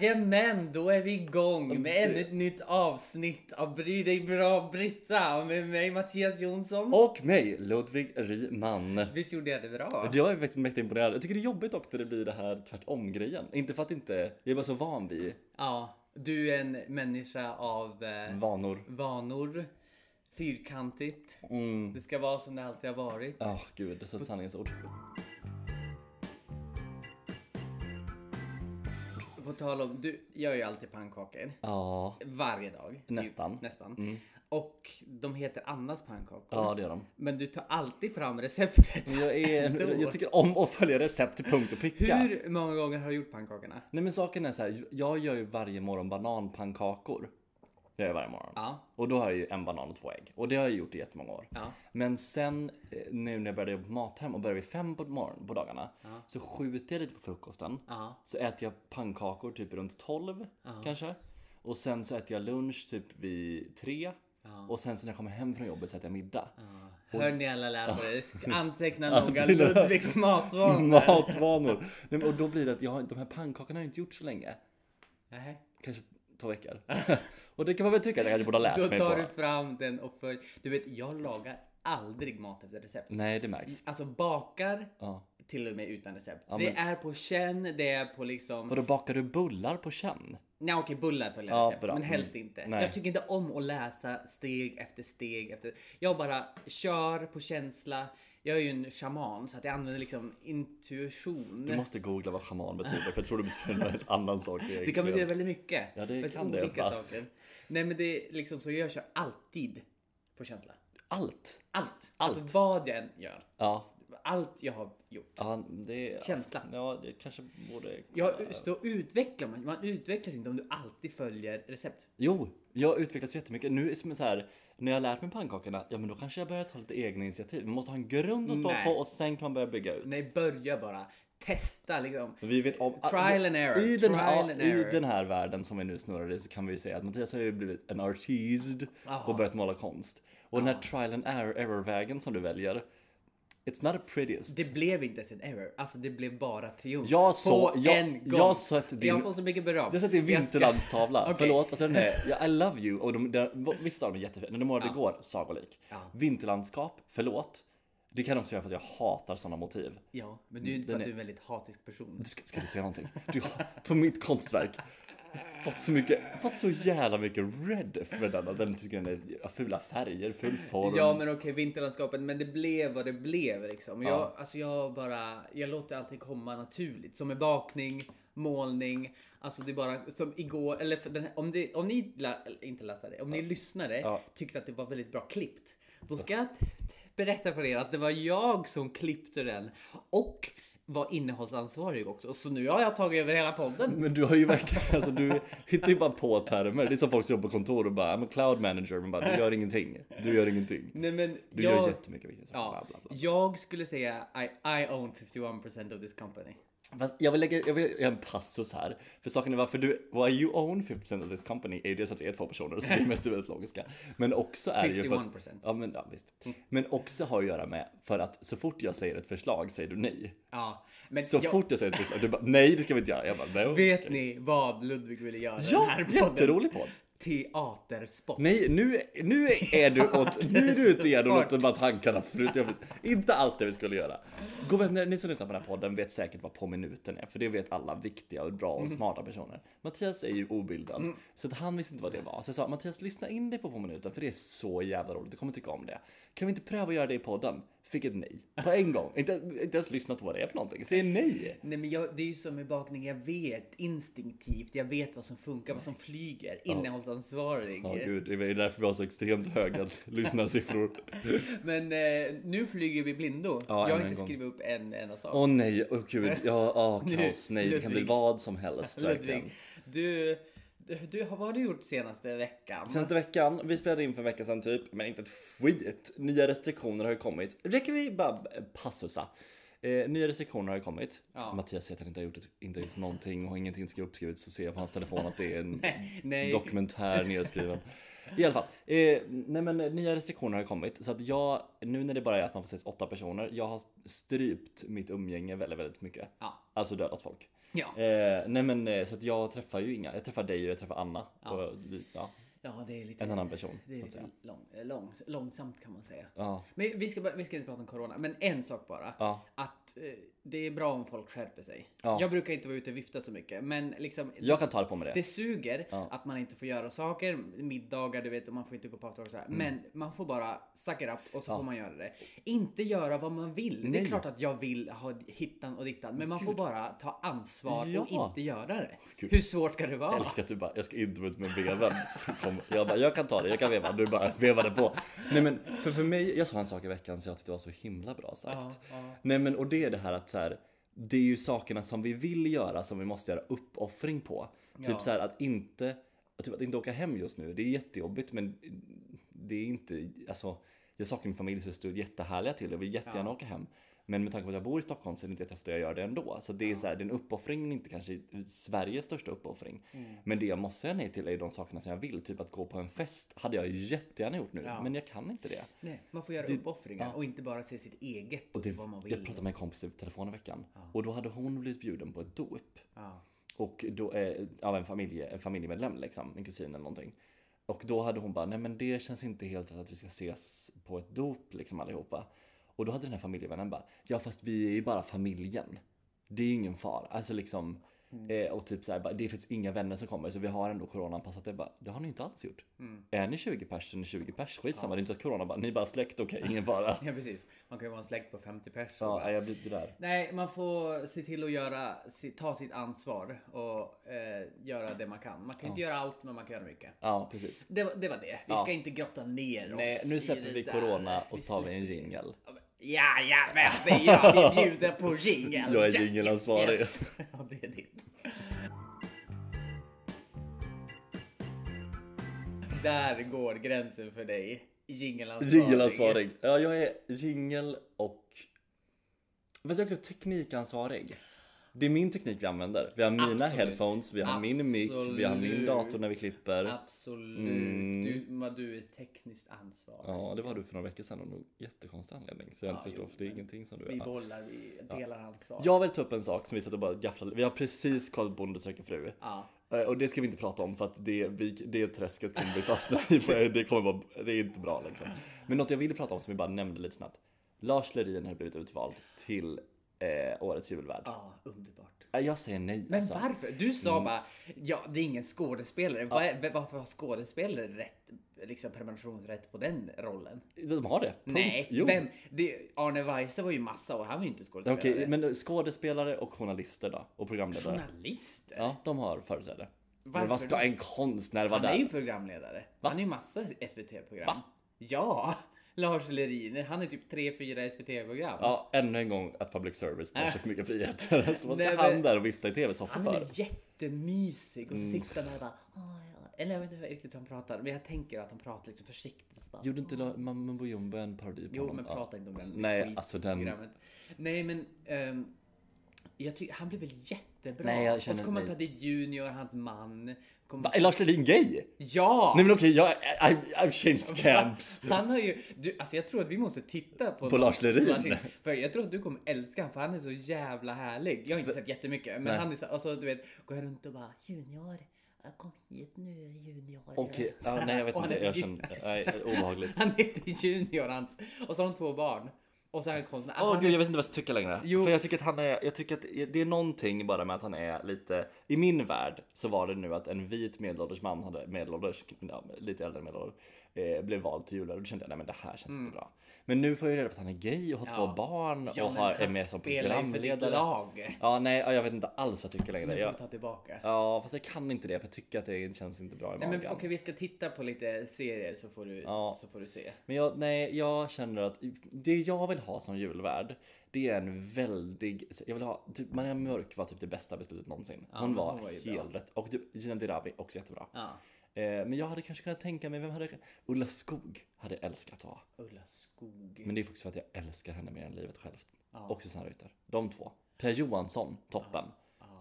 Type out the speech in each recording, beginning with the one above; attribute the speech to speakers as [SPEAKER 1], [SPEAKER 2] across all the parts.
[SPEAKER 1] Jajamän, då är vi igång med ännu ett nytt avsnitt av Bry dig bra Britta och med mig Mattias Jonsson.
[SPEAKER 2] Och mig, Ludvig Ryman.
[SPEAKER 1] Visst gjorde jag det bra?
[SPEAKER 2] Jag är faktiskt mäktigt imponerad. Jag tycker det är jobbigt dock när det blir det här tvärtom-grejen. Inte för att inte, jag är bara så van vid
[SPEAKER 1] Ja, du är en människa av eh,
[SPEAKER 2] vanor.
[SPEAKER 1] vanor, fyrkantigt.
[SPEAKER 2] Mm.
[SPEAKER 1] Det ska vara som det alltid har varit.
[SPEAKER 2] Ja, gud, det är så ett sanningens ord.
[SPEAKER 1] På tal om, du gör ju alltid pannkakor.
[SPEAKER 2] Ja,
[SPEAKER 1] Varje dag.
[SPEAKER 2] Nästan. Mm.
[SPEAKER 1] Typ, nästan. Och de heter Annas pannkakor.
[SPEAKER 2] ja det gör de.
[SPEAKER 1] Men du tar alltid fram receptet.
[SPEAKER 2] Jag, är,
[SPEAKER 1] ändå.
[SPEAKER 2] jag tycker om att följa recept till punkt och pricka.
[SPEAKER 1] Hur många gånger har du gjort pannkakorna?
[SPEAKER 2] Nej men saken är så här, jag gör ju varje morgon bananpannkakor. Det gör jag varje morgon.
[SPEAKER 1] Ja.
[SPEAKER 2] Och då har jag ju en banan och två ägg. Och det har jag gjort i jättemånga år.
[SPEAKER 1] Ja.
[SPEAKER 2] Men sen eh, nu när jag började jobba på Mathem och började vid fem på morgonen på dagarna så skjuter jag lite på frukosten.
[SPEAKER 1] Ja.
[SPEAKER 2] Så äter jag pannkakor typ runt 12 kanske. Och sen så äter jag lunch typ vid tre. Och sen så när jag kommer hem från jobbet så äter jag middag.
[SPEAKER 1] Hör ni alla läsare? Sk- Anteckna noga Ludvigs matvanor.
[SPEAKER 2] Matvanor! Nej, men, och då blir det att jag, har- de här pannkakorna har jag inte gjort så länge.
[SPEAKER 1] Nej.
[SPEAKER 2] Kanske två veckor. och det kan man väl tycka att jag kanske borde ha lärt
[SPEAKER 1] Då
[SPEAKER 2] mig
[SPEAKER 1] tar
[SPEAKER 2] på.
[SPEAKER 1] du fram den och följer. Du vet, jag lagar aldrig mat efter recept.
[SPEAKER 2] Nej det märks.
[SPEAKER 1] Alltså bakar
[SPEAKER 2] Ja.
[SPEAKER 1] till och med utan recept.
[SPEAKER 2] Ja,
[SPEAKER 1] Det
[SPEAKER 2] men-
[SPEAKER 1] är på känn, det är på liksom...
[SPEAKER 2] Vadå bakar du bullar på känn?
[SPEAKER 1] Nej okej, bullar följer
[SPEAKER 2] Ja,
[SPEAKER 1] recept.
[SPEAKER 2] bra.
[SPEAKER 1] Men helst
[SPEAKER 2] Mm.
[SPEAKER 1] inte.
[SPEAKER 2] Nej.
[SPEAKER 1] Jag tycker inte om att läsa steg efter steg efter... Jag bara kör på känsla. Jag är ju en shaman så att jag använder liksom intuition.
[SPEAKER 2] Du måste googla vad schaman betyder för jag tror det betyder en annan sak egentligen.
[SPEAKER 1] Det kan betyda väldigt mycket.
[SPEAKER 2] Ja, det
[SPEAKER 1] väldigt
[SPEAKER 2] kan det i alla
[SPEAKER 1] olika
[SPEAKER 2] fall.
[SPEAKER 1] saker. Nej men det är liksom så jag kör alltid på känsla.
[SPEAKER 2] Allt!
[SPEAKER 1] Allt. Alltså vad jag än gör.
[SPEAKER 2] Ja,
[SPEAKER 1] Allt jag har gjort.
[SPEAKER 2] ja det...
[SPEAKER 1] Känsla.
[SPEAKER 2] Ja, det kanske borde...
[SPEAKER 1] Jag så utvecklar man. Man utvecklas inte om du alltid följer recept.
[SPEAKER 2] Jo, jag utvecklas jättemycket. Nu är det som så här, när jag har lärt mig pannkakorna, ja men då kanske jag börjar ta lite egna initiativ. Man måste ha en grund att stå
[SPEAKER 1] Nej.
[SPEAKER 2] på och sen kan man börja bygga ut.
[SPEAKER 1] Nej, börja bara. Testa liksom.
[SPEAKER 2] Vi vet om,
[SPEAKER 1] Trial and error,
[SPEAKER 2] I den, här,
[SPEAKER 1] trial and error.
[SPEAKER 2] I den här världen som vi nu snurrar i så kan vi ju säga att Mattias har ju blivit en artist och börjat måla konst. Och den här trial and error- error-vägen som du väljer, it's not the prettiest.
[SPEAKER 1] Det blev inte ens en error. Alltså det blev bara triumf.
[SPEAKER 2] Jag
[SPEAKER 1] på
[SPEAKER 2] så- jag-
[SPEAKER 1] en gång.
[SPEAKER 2] jag så att din-
[SPEAKER 1] jag får så mycket beröm.
[SPEAKER 2] Jag har sett din
[SPEAKER 1] Jag ska-
[SPEAKER 2] vinterlandstavla,
[SPEAKER 1] Okej.
[SPEAKER 2] förlåt. Alltså den är, ja, I love you. Och de, de, visst har de jättefina, de målade igår, sagolik. Vinterlandskap, förlåt. Det kan också göra för att jag hatar sådana motiv.
[SPEAKER 1] Ja, men du är ju för att
[SPEAKER 2] Den är-
[SPEAKER 1] du är en väldigt hatisk person.
[SPEAKER 2] Du ska, ska du säga någonting? Du har, på mitt konstverk, fått så mycket, fått så jävla mycket red för den. att Den tycker den är fula färger, ful form.
[SPEAKER 1] Ja men okej, vinterlandskapet, men det blev vad det blev liksom. Jag, alltså jag bara, jag låter allting komma naturligt. Som med bakning, målning, alltså det är bara som igår, eller för den här, om, det, om ni la, eller inte läsare, om ni lyssnare
[SPEAKER 2] Ja.
[SPEAKER 1] tyckte att det var väldigt bra klippt. Då ska jag t- t- berätta för er att det var jag som klippte den och var innehållsansvarig också. Så nu har jag tagit över hela podden.
[SPEAKER 2] Men du har ju verkligen, alltså du hittar ju bara på termer. Det är som folk som jobbar på kontor och bara, I'm a cloud manager. Man bara, du gör ingenting. Du gör ingenting.
[SPEAKER 1] Nej men
[SPEAKER 2] Du
[SPEAKER 1] jag,
[SPEAKER 2] gör jättemycket viktiga saker.
[SPEAKER 1] ja,
[SPEAKER 2] Bla, bla, bla.
[SPEAKER 1] jag skulle säga I, I own 51% of this company.
[SPEAKER 2] Fast jag vill lägga jag vill, göra en passus här. För saken är varför du, why you own 50% of this company är ju dels för att vi är två personer så det är mest väldigt logiska. Men också är det ju för att,
[SPEAKER 1] 51%.
[SPEAKER 2] ja, men, ja, visst.
[SPEAKER 1] Mm.
[SPEAKER 2] men också har att göra med för att så fort jag säger ett förslag säger du nej.
[SPEAKER 1] Ja, men
[SPEAKER 2] Så
[SPEAKER 1] jag,
[SPEAKER 2] fort jag säger ett förslag, du bara nej det ska vi inte göra. Jag bara nej. okej."
[SPEAKER 1] vet ni vad Ludvig ville göra i den
[SPEAKER 2] Ja,
[SPEAKER 1] här podden?
[SPEAKER 2] jätterolig podd.
[SPEAKER 1] Teatersport.
[SPEAKER 2] Nej, nu, nu är du åt, nu är du ute igen och låter bara tankarna flyta. Jag vet Inte allt det vi skulle göra. Gå vänner, ni som lyssnar på den här podden vet säkert vad på minuten är, för det vet alla viktiga och bra och smarta personer. Mattias är ju obildad, så att han visste inte vad det var. Så jag sa Mattias, lyssna in dig på på minuten, för det är så jävla roligt. Du kommer tycka om det. Kan vi inte pröva att göra det i podden? Fick ett nej på en gång. Inte, inte ens lyssnat på vad det är för någonting. Säger nej.
[SPEAKER 1] Nej men jag, det är ju som med bakning, jag vet instinktivt, jag vet vad som funkar, vad som flyger, innehållsansvarig.
[SPEAKER 2] Ja, gud, det är därför vi har så extremt höga lyssnarsiffror.
[SPEAKER 1] men eh, nu flyger vi blindo.
[SPEAKER 2] Ja,
[SPEAKER 1] jag
[SPEAKER 2] än
[SPEAKER 1] har
[SPEAKER 2] en
[SPEAKER 1] inte
[SPEAKER 2] gång.
[SPEAKER 1] skrivit upp en enda sak.
[SPEAKER 2] Åh nej, åh gud, ja, åh, kaos, nej, det kan bli
[SPEAKER 1] Ludvig.
[SPEAKER 2] vad som helst verkligen.
[SPEAKER 1] Ludvig, du, du, du, vad har du gjort senaste veckan?
[SPEAKER 2] Senaste veckan, vi spelade in för en vecka sedan typ, men inte ett skit. Nya restriktioner har ju kommit. Det kan vi bara passusa. Eh, nya restriktioner har ju kommit.
[SPEAKER 1] Ja.
[SPEAKER 2] Mattias säger att han inte har gjort, ett, inte har gjort någonting och ingenting ska uppskrivet så ser jag på hans telefon att det är en
[SPEAKER 1] nej.
[SPEAKER 2] dokumentär nedskriven. I alla fall, eh, nej men eh, nya restriktioner har kommit så att jag, nu när det bara är att man får ses åtta personer, jag har strypt mitt umgänge väldigt, väldigt mycket.
[SPEAKER 1] Ja.
[SPEAKER 2] Alltså dödat folk.
[SPEAKER 1] Ja.
[SPEAKER 2] Eh, nej men eh, så att jag träffar ju inga. Jag träffar dig och jag träffar Anna. Och, ja,
[SPEAKER 1] Ja, det är lite...
[SPEAKER 2] en annan person.
[SPEAKER 1] Det är
[SPEAKER 2] så att säga.
[SPEAKER 1] lite lång, lång, långsamt kan man säga.
[SPEAKER 2] Ja.
[SPEAKER 1] Men vi ska, bara- vi ska inte prata om corona, men en sak bara.
[SPEAKER 2] Ja.
[SPEAKER 1] Att eh, det är bra om folk skärper sig.
[SPEAKER 2] Ja.
[SPEAKER 1] Jag brukar inte vara ute och vifta så mycket, men liksom...
[SPEAKER 2] Jag kan ta det på mig det.
[SPEAKER 1] Det suger
[SPEAKER 2] Ja.
[SPEAKER 1] att man inte får göra saker, middagar du vet och man får inte gå på afterwork och sådär.
[SPEAKER 2] Mm.
[SPEAKER 1] Men man får bara suck it up och så får man göra det. Inte göra vad man vill. Det är
[SPEAKER 2] Nej.
[SPEAKER 1] klart att jag vill ha hittan och dittan men man får bara ta ansvar
[SPEAKER 2] Ja.
[SPEAKER 1] och inte göra det.
[SPEAKER 2] Gud.
[SPEAKER 1] Hur svårt ska det vara?
[SPEAKER 2] Jag älskar att du bara, jag ska inte ut med veven. Så kom- Jag bara, jag kan ta det, jag kan veva. Du bara vevade på. Nej men, för, för mig, jag sa en sak i veckan som jag tyckte var så himla bra sagt. Nej men, och det är det här att så här, det är ju sakerna som vi vill göra som vi måste göra uppoffring på.
[SPEAKER 1] Ja.
[SPEAKER 2] Typ så här att inte, typ att inte åka hem just nu, det är jättejobbigt men det är inte, alltså jag saknar min familj så det står jättehärliga till, jag vill jättegärna åka hem. Men med tanke på att jag bor i Stockholm så är det inte jätteofta jag gör det ändå. Så det är så här, den uppoffringen är inte kanske Sveriges största uppoffring. Men det jag måste säga nej till är de sakerna som jag vill. Typ att gå på en fest hade jag jättegärna gjort nu, men jag kan inte det.
[SPEAKER 1] Nej, man får göra uppoffringar och inte bara se sitt eget och,
[SPEAKER 2] Det,
[SPEAKER 1] vad man
[SPEAKER 2] jag
[SPEAKER 1] vill.
[SPEAKER 2] pratade med en kompis i telefon i veckan och då hade hon blivit bjuden på ett dop.
[SPEAKER 1] Ja.
[SPEAKER 2] Och då, eh, av en, familje, en familjemedlem liksom, en kusin eller någonting. Och då hade hon bara, nej men det känns inte helt rätt att vi ska ses på ett dop liksom allihopa. Och då hade den här familjevännen bara, ja fast vi är ju bara familjen. Det är ju ingen fara. Alltså liksom, eh, och typ så här, bara, det finns inga vänner som kommer så vi har ändå coronaanpassat det. Bara, det har ni inte alls gjort.
[SPEAKER 1] Mm.
[SPEAKER 2] Är ni 20 pers så är ni 20 pers. Skitsamma, det är inte så att corona bara, ni är bara släkt, okej, ingen fara.
[SPEAKER 1] ja, precis. Man kan ju vara en släkt på 50 personer.
[SPEAKER 2] ja, jag blir det där.
[SPEAKER 1] Nej, man får se till att göra, si- ta sitt ansvar och eh, göra det man kan. Man kan inte göra allt, men man kan göra mycket.
[SPEAKER 2] Ja, precis.
[SPEAKER 1] Det, var- det var det. Vi ska inte grotta ner oss
[SPEAKER 2] Nej, nu
[SPEAKER 1] i
[SPEAKER 2] släpper
[SPEAKER 1] det
[SPEAKER 2] vi
[SPEAKER 1] där.
[SPEAKER 2] corona och så tar vi en jingel.
[SPEAKER 1] Ja, ja, men det är jag. Vi bjuder på jingel.
[SPEAKER 2] Jag är jingelansvarig.
[SPEAKER 1] Ja, det är ditt. Där går gränsen för dig. Jingelansvarig.
[SPEAKER 2] Jingelansvarig. Ja, jag är jingel och... Fast jag är också teknikansvarig. Det är min teknik vi använder. Vi har mina
[SPEAKER 1] Absolut.
[SPEAKER 2] headphones, vi har min mic, vi har min
[SPEAKER 1] Absolut.
[SPEAKER 2] dator när vi klipper.
[SPEAKER 1] Absolut. Du, vad du är tekniskt ansvarig.
[SPEAKER 2] Mm. Ja, det var du för några veckor sedan av någon jättekonstig anledning. Så jag inte förstår,
[SPEAKER 1] jo,
[SPEAKER 2] för det är ingenting som du
[SPEAKER 1] Vi
[SPEAKER 2] är. Ja.
[SPEAKER 1] bollar, vi delar ansvar.
[SPEAKER 2] Jag vill ta upp en sak som vi satt och bara gafflade. Vi har precis kollat Bonde söker fru.
[SPEAKER 1] Ja.
[SPEAKER 2] Eh, Och det ska vi inte prata om för att det, vi- det träsket kommer vi fastna i. för Det kommer vara, det är inte bra liksom. Men något jag ville prata om som vi bara nämnde lite snabbt. Lars Lerin har blivit utvald till eh, årets julvärd.
[SPEAKER 1] ja, underbart.
[SPEAKER 2] Eh, Jag säger nej
[SPEAKER 1] Men
[SPEAKER 2] alltså.
[SPEAKER 1] varför? Du sa bara, ja det är ingen skådespelare. Vad är- varför har skådespelare rätt, liksom prenumerationsrätt på den rollen?
[SPEAKER 2] De har det. Punkt.
[SPEAKER 1] Nej,
[SPEAKER 2] Jo.
[SPEAKER 1] vem? Det, Arne Weise var ju massa år, han var ju inte skådespelare.
[SPEAKER 2] Okej, men skådespelare och journalister då? Och programledare?
[SPEAKER 1] Journalister?
[SPEAKER 2] Ja, de har företräde.
[SPEAKER 1] Varför
[SPEAKER 2] Men vad ska
[SPEAKER 1] då?
[SPEAKER 2] en konstnär vara
[SPEAKER 1] Han är
[SPEAKER 2] där?
[SPEAKER 1] ju programledare. Han är ju massa SVT-program.
[SPEAKER 2] Va?
[SPEAKER 1] Ja! Lars Lerin, han är typ 3-4 SVT-program.
[SPEAKER 2] Ja, ännu en gång att public service tar sig för mycket friheter. Alltså, vad ska
[SPEAKER 1] Ah. Nej, men-
[SPEAKER 2] han där och vifta i tv-soffan
[SPEAKER 1] Han är
[SPEAKER 2] för?
[SPEAKER 1] väl jättemysig och
[SPEAKER 2] Mm.
[SPEAKER 1] så sitter han där och bara "Åh, ja. Eller jag vet inte riktigt hur han pratar men jag tänker att han pratar liksom försiktigt. och Så bara,
[SPEAKER 2] Gjorde inte La- Mambo Jumbo en parodi på
[SPEAKER 1] jo
[SPEAKER 2] honom?
[SPEAKER 1] men
[SPEAKER 2] Ja.
[SPEAKER 1] prata inte om den
[SPEAKER 2] Nej,
[SPEAKER 1] skit-
[SPEAKER 2] alltså den-
[SPEAKER 1] programmet. Nej men ehm, jag tycker han blir väl jättebra.
[SPEAKER 2] Nej, jag
[SPEAKER 1] och
[SPEAKER 2] känner
[SPEAKER 1] så kommer han
[SPEAKER 2] mig-
[SPEAKER 1] ta dit Junior, hans man. Kommer...
[SPEAKER 2] Va, Är Lars Lerin gay?
[SPEAKER 1] Ja!
[SPEAKER 2] Nej men okej, jag, I, I've changed camps.
[SPEAKER 1] Han har ju, du, alltså jag tror att vi måste titta på,
[SPEAKER 2] På Lars Lerin?
[SPEAKER 1] För jag tror att du kommer älska honom för han är så jävla härlig. Jag har inte sett jättemycket men
[SPEAKER 2] Nej.
[SPEAKER 1] han är så, alltså, du vet, går runt och bara Junior, kom hit nu Junior.
[SPEAKER 2] Okej,
[SPEAKER 1] Så
[SPEAKER 2] ja,
[SPEAKER 1] här.
[SPEAKER 2] nej jag vet
[SPEAKER 1] Och han
[SPEAKER 2] inte,
[SPEAKER 1] heter
[SPEAKER 2] jag
[SPEAKER 1] Ju-
[SPEAKER 2] känner, nej obehagligt.
[SPEAKER 1] Han heter Junior hans och så har de två barn. Och så är han konstnär. Alltså,
[SPEAKER 2] Åh
[SPEAKER 1] han
[SPEAKER 2] gud
[SPEAKER 1] är
[SPEAKER 2] jag vet
[SPEAKER 1] s-
[SPEAKER 2] inte vad jag ska tycka längre.
[SPEAKER 1] Jo.
[SPEAKER 2] För jag tycker att han är, jag tycker att det är någonting bara med att han är lite, i min värld så var det nu att en vit medelålders man hade, medelålders, ja, lite äldre än medelålders, eh, blev vald till julvärd. Då kände jag nej men det här känns inte bra. Men nu får jag ju reda på att han är gay och har två barn
[SPEAKER 1] Ja,
[SPEAKER 2] och
[SPEAKER 1] men
[SPEAKER 2] har, är
[SPEAKER 1] han
[SPEAKER 2] med som
[SPEAKER 1] spelar ju för ditt
[SPEAKER 2] programledare.
[SPEAKER 1] lag.
[SPEAKER 2] Ja nej ja, jag vet inte alls vad jag tycker
[SPEAKER 1] Nu
[SPEAKER 2] längre.
[SPEAKER 1] får
[SPEAKER 2] Jag,
[SPEAKER 1] vi ta tillbaka.
[SPEAKER 2] ja fast jag kan inte det för jag tycker att det känns inte bra i
[SPEAKER 1] Nej,
[SPEAKER 2] magen.
[SPEAKER 1] men okej, vi ska titta på lite serier så får du,
[SPEAKER 2] Ja.
[SPEAKER 1] så får du se.
[SPEAKER 2] Men jag, nej, jag känner att det jag vill ha som julvärd, det är en väldig... Jag vill ha, typ, Maria Mörk var typ det bästa beslutet någonsin. hon
[SPEAKER 1] men
[SPEAKER 2] var,
[SPEAKER 1] hon var ju bra.
[SPEAKER 2] helt rätt. Och typ Gina Dirawi, också jättebra.
[SPEAKER 1] Ja.
[SPEAKER 2] Eh, men jag hade kanske kunnat tänka mig, vem hade jag, Ulla Skog hade jag älskat ha.
[SPEAKER 1] Ulla Skog.
[SPEAKER 2] Men det är faktiskt för att jag älskar henne mer än livet självt. Och Susanne Reuter. De två. Per Johansson, toppen.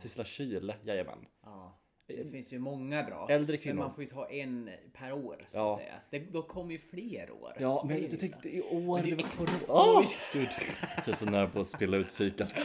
[SPEAKER 2] Sissela Kyle, jajamän.
[SPEAKER 1] Ja. Det finns ju många bra.
[SPEAKER 2] Mm. Äldre kvinnor.
[SPEAKER 1] men man får ju ta en per år så
[SPEAKER 2] Ja.
[SPEAKER 1] att säga. Det, då kommer ju fler år.
[SPEAKER 2] Ja,
[SPEAKER 1] Det är
[SPEAKER 2] men
[SPEAKER 1] ju
[SPEAKER 2] jag
[SPEAKER 1] illa.
[SPEAKER 2] tänkte i år.
[SPEAKER 1] Men det
[SPEAKER 2] Det
[SPEAKER 1] är
[SPEAKER 2] var
[SPEAKER 1] ex-
[SPEAKER 2] corona.
[SPEAKER 1] Oj.
[SPEAKER 2] Åh, Gud, jag är så nära på att spilla ut fikat.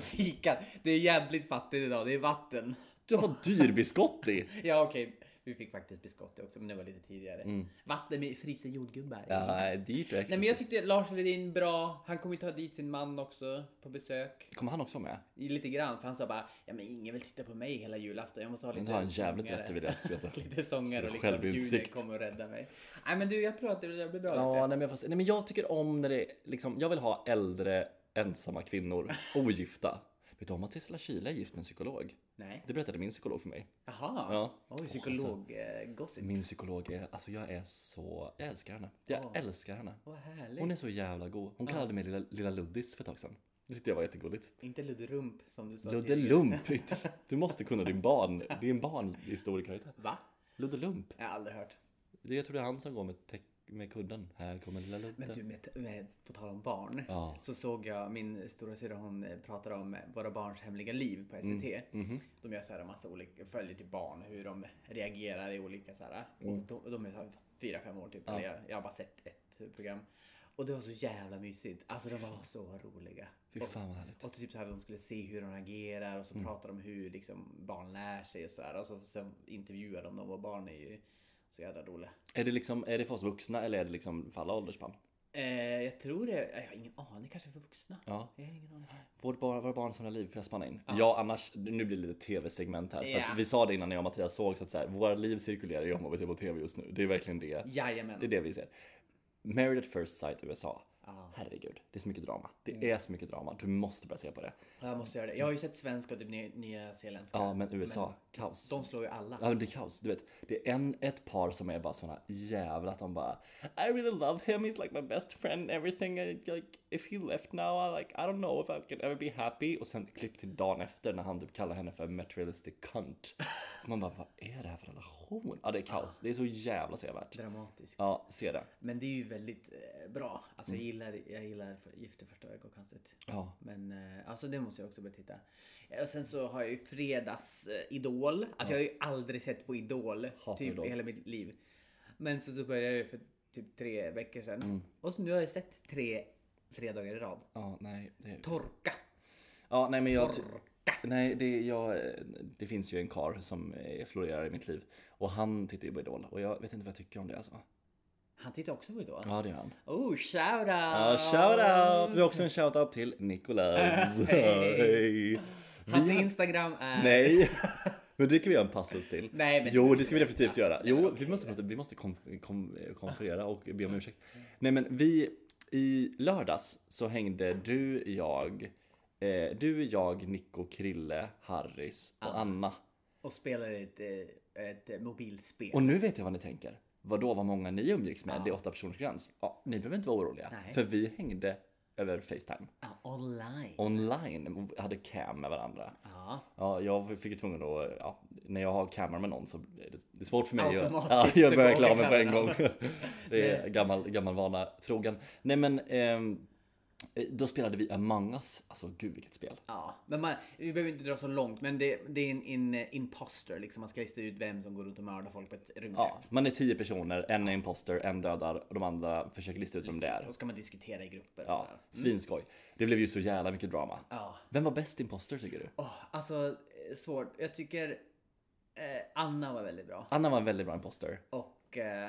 [SPEAKER 1] Fika. Det är jävligt fattigt idag. Det är vatten.
[SPEAKER 2] Du har dyrbiskott i.
[SPEAKER 1] Ja okej. Vi fick faktiskt biskotti också men det var lite tidigare. Vatten med frysta jordgubbar.
[SPEAKER 2] Mm. Ja, dit
[SPEAKER 1] Nej men jag tyckte Lars Lerin bra. Han kommer ju ta dit sin man också på besök.
[SPEAKER 2] Kommer han också med?
[SPEAKER 1] Lite grann för han sa bara ja men ingen vill titta på mig hela julafton. Jag måste ha
[SPEAKER 2] Men
[SPEAKER 1] lite
[SPEAKER 2] det har en jävligt
[SPEAKER 1] sångare."
[SPEAKER 2] rätt vid det. så vet jag.
[SPEAKER 1] Lite sångare och liksom
[SPEAKER 2] Självinsikt.
[SPEAKER 1] Julia kommer och rädda mig. Nej men du jag tror att det där blir bra.
[SPEAKER 2] Ja,
[SPEAKER 1] vet
[SPEAKER 2] nej men, fast, nej men jag tycker om när det är liksom, jag vill ha äldre ensamma kvinnor, ogifta. Vet du om att Tesla Kyle är gift med en psykolog?
[SPEAKER 1] du. Nej.
[SPEAKER 2] Det berättade min psykolog för mig.
[SPEAKER 1] Jaha.
[SPEAKER 2] Ja.
[SPEAKER 1] Oj psykolog-gossip.
[SPEAKER 2] Min psykolog är, alltså jag är så, jag älskar henne. Jag
[SPEAKER 1] Ja.
[SPEAKER 2] älskar henne.
[SPEAKER 1] Vad härligt.
[SPEAKER 2] Hon är så jävla god. Hon kallade mig lilla, lilla Luddis för ett tag sedan. Det tyckte jag var jättegulligt.
[SPEAKER 1] Inte Ludderump som du sa
[SPEAKER 2] Ludde
[SPEAKER 1] tidigare.
[SPEAKER 2] Lump! inte- Du måste kunna din barn, din barnhistoriker. heter det.
[SPEAKER 1] Va?
[SPEAKER 2] Ludde Lump.
[SPEAKER 1] Jag har aldrig hört.
[SPEAKER 2] Det- Jag tror det är han som går med, teck, med kudden. Här kommer lilla Ludde.
[SPEAKER 1] Men du, med, med, på tal om barn.
[SPEAKER 2] Ja.
[SPEAKER 1] Så såg jag min stora syster hon eh, pratade om eh, våra barns hemliga liv på SVT.
[SPEAKER 2] Mm.
[SPEAKER 1] De gör så här en massa olika, följer till barn hur de reagerar i olika så här.
[SPEAKER 2] Mm.
[SPEAKER 1] Och de, de är så här fyra, fem år typ. Eller jag, jag har bara sett ett program. Och det var så jävla mysigt. Alltså de var så roliga.
[SPEAKER 2] Fy
[SPEAKER 1] Och-
[SPEAKER 2] fan vad härligt.
[SPEAKER 1] och typ så här, de skulle se hur de agerar och så
[SPEAKER 2] Mm.
[SPEAKER 1] pratar de om hur liksom, barn lär sig och sådär. Och så sen intervjuar de dem och barn är ju så jävla roliga.
[SPEAKER 2] Är det, liksom, är det för oss vuxna eller är det liksom för alla åldersspann?
[SPEAKER 1] Eh, jag tror det, jag har ingen aning, kanske för vuxna.
[SPEAKER 2] Ja.
[SPEAKER 1] Jag har ingen aning.
[SPEAKER 2] Vårt barn, våra barn som har liv, får jag spanna in? Ja, annars, nu blir det lite tv-segment här. För
[SPEAKER 1] Ja.
[SPEAKER 2] att vi sa det innan jag och Mattias såg så att så här, våra liv cirkulerar i området på tv just nu. Det är verkligen det.
[SPEAKER 1] Jajamän.
[SPEAKER 2] Det är det vi ser. Married at first sight USA.
[SPEAKER 1] Ja. Mm.
[SPEAKER 2] Herregud, det är så mycket drama. Det är så mycket drama. Du måste börja se på det.
[SPEAKER 1] Jag måste göra det. Jag har ju sett svenska och typ nya, nya zeeländska.
[SPEAKER 2] Ja, men USA, kaos.
[SPEAKER 1] De slår ju alla.
[SPEAKER 2] Ja men det är kaos, du vet. Det är en, ett par som är bara såna jävla att de bara I really love him, he's like my best friend and everything I, like if he left now I like I don't know if I can ever be happy och sen klipp till dagen efter när han typ kallar henne för materialistic cunt. Man bara vad är det här för relation? Ja det är kaos, det är så jävla sevärt.
[SPEAKER 1] Dramatiskt.
[SPEAKER 2] Ja, se det.
[SPEAKER 1] Men det är ju väldigt eh, bra. Alltså
[SPEAKER 2] Mm.
[SPEAKER 1] jag gillar, jag gillar för- Gift i första ögonkastet.
[SPEAKER 2] Ja.
[SPEAKER 1] Men eh, alltså det måste jag också börja titta. Eh, Och sen så har jag ju fredags eh, Idol. Alltså jag har ju aldrig sett på Idol.
[SPEAKER 2] Hatar
[SPEAKER 1] typ
[SPEAKER 2] Idol.
[SPEAKER 1] i hela mitt liv. Men så, så började jag ju för typ tre veckor sedan.
[SPEAKER 2] Mm.
[SPEAKER 1] Och så nu har jag sett tre fredagar i rad.
[SPEAKER 2] Ja, nej. Det...
[SPEAKER 1] Torka.
[SPEAKER 2] Ja, nej men jag...
[SPEAKER 1] Torka.
[SPEAKER 2] Nej, det, jag, eh, det finns ju en kar som eh, florerar i mitt liv och han tittar ju på Idol och jag vet inte vad jag tycker om det alltså.
[SPEAKER 1] Han tittar också på Idol.
[SPEAKER 2] Ja, det gör han.
[SPEAKER 1] Oh, shoutout!
[SPEAKER 2] Ja, shoutout! Vi har också en shoutout till Nicolas.
[SPEAKER 1] Hej.
[SPEAKER 2] Hej.
[SPEAKER 1] Hans
[SPEAKER 2] Vi-
[SPEAKER 1] Instagram är...
[SPEAKER 2] Nej, men det kan vi göra en passus till.
[SPEAKER 1] Nej, men-
[SPEAKER 2] jo, det ska vi definitivt göra. Jo, vi måste, prata, vi måste kom, kom, konferera och be om ursäkt. Nej, men vi i lördags så hängde du, jag, eh, du, jag, Nico, Krille, Harris och Anna.
[SPEAKER 1] Och spelar ett, eh, ett eh, mobilspel.
[SPEAKER 2] Och nu vet jag vad ni tänker. Vadå, vad många ni umgicks med? Det är åtta personers gräns. Ja, ni behöver inte vara oroliga,
[SPEAKER 1] Nej.
[SPEAKER 2] för vi hängde över Facetime.
[SPEAKER 1] Ah, online.
[SPEAKER 2] online och hade cam med varandra.
[SPEAKER 1] Ja.
[SPEAKER 2] Ja, jag fick ju tvungen att, ja, när jag har kameran med någon så är det, det är svårt för mig att
[SPEAKER 1] Automatiskt
[SPEAKER 2] ja,
[SPEAKER 1] så
[SPEAKER 2] jag börjar
[SPEAKER 1] går
[SPEAKER 2] klara mig på en
[SPEAKER 1] kameran.
[SPEAKER 2] gång. Det är gammal, gammal vana trogen. Nej men, ehm, då spelade vi Among Us. Alltså gud vilket spel.
[SPEAKER 1] Ja, men man, vi behöver inte dra så långt, men det, det är en, en eh, imposter liksom. Man ska lista ut vem som går runt och mördar folk på ett rymdskepp.
[SPEAKER 2] Ja, man är tio personer, en är imposter, en dödar och de andra försöker lista ut vem det är.
[SPEAKER 1] Och ska man diskutera i grupper och
[SPEAKER 2] Ja,
[SPEAKER 1] sådär. Mm.
[SPEAKER 2] svinskoj. Det blev ju så jävla mycket drama.
[SPEAKER 1] Ja.
[SPEAKER 2] Vem var bäst imposter tycker du?
[SPEAKER 1] Åh, alltså, eh, svårt. Jag tycker eh, Anna var väldigt bra.
[SPEAKER 2] Anna var en väldigt bra imposter.
[SPEAKER 1] Och eh,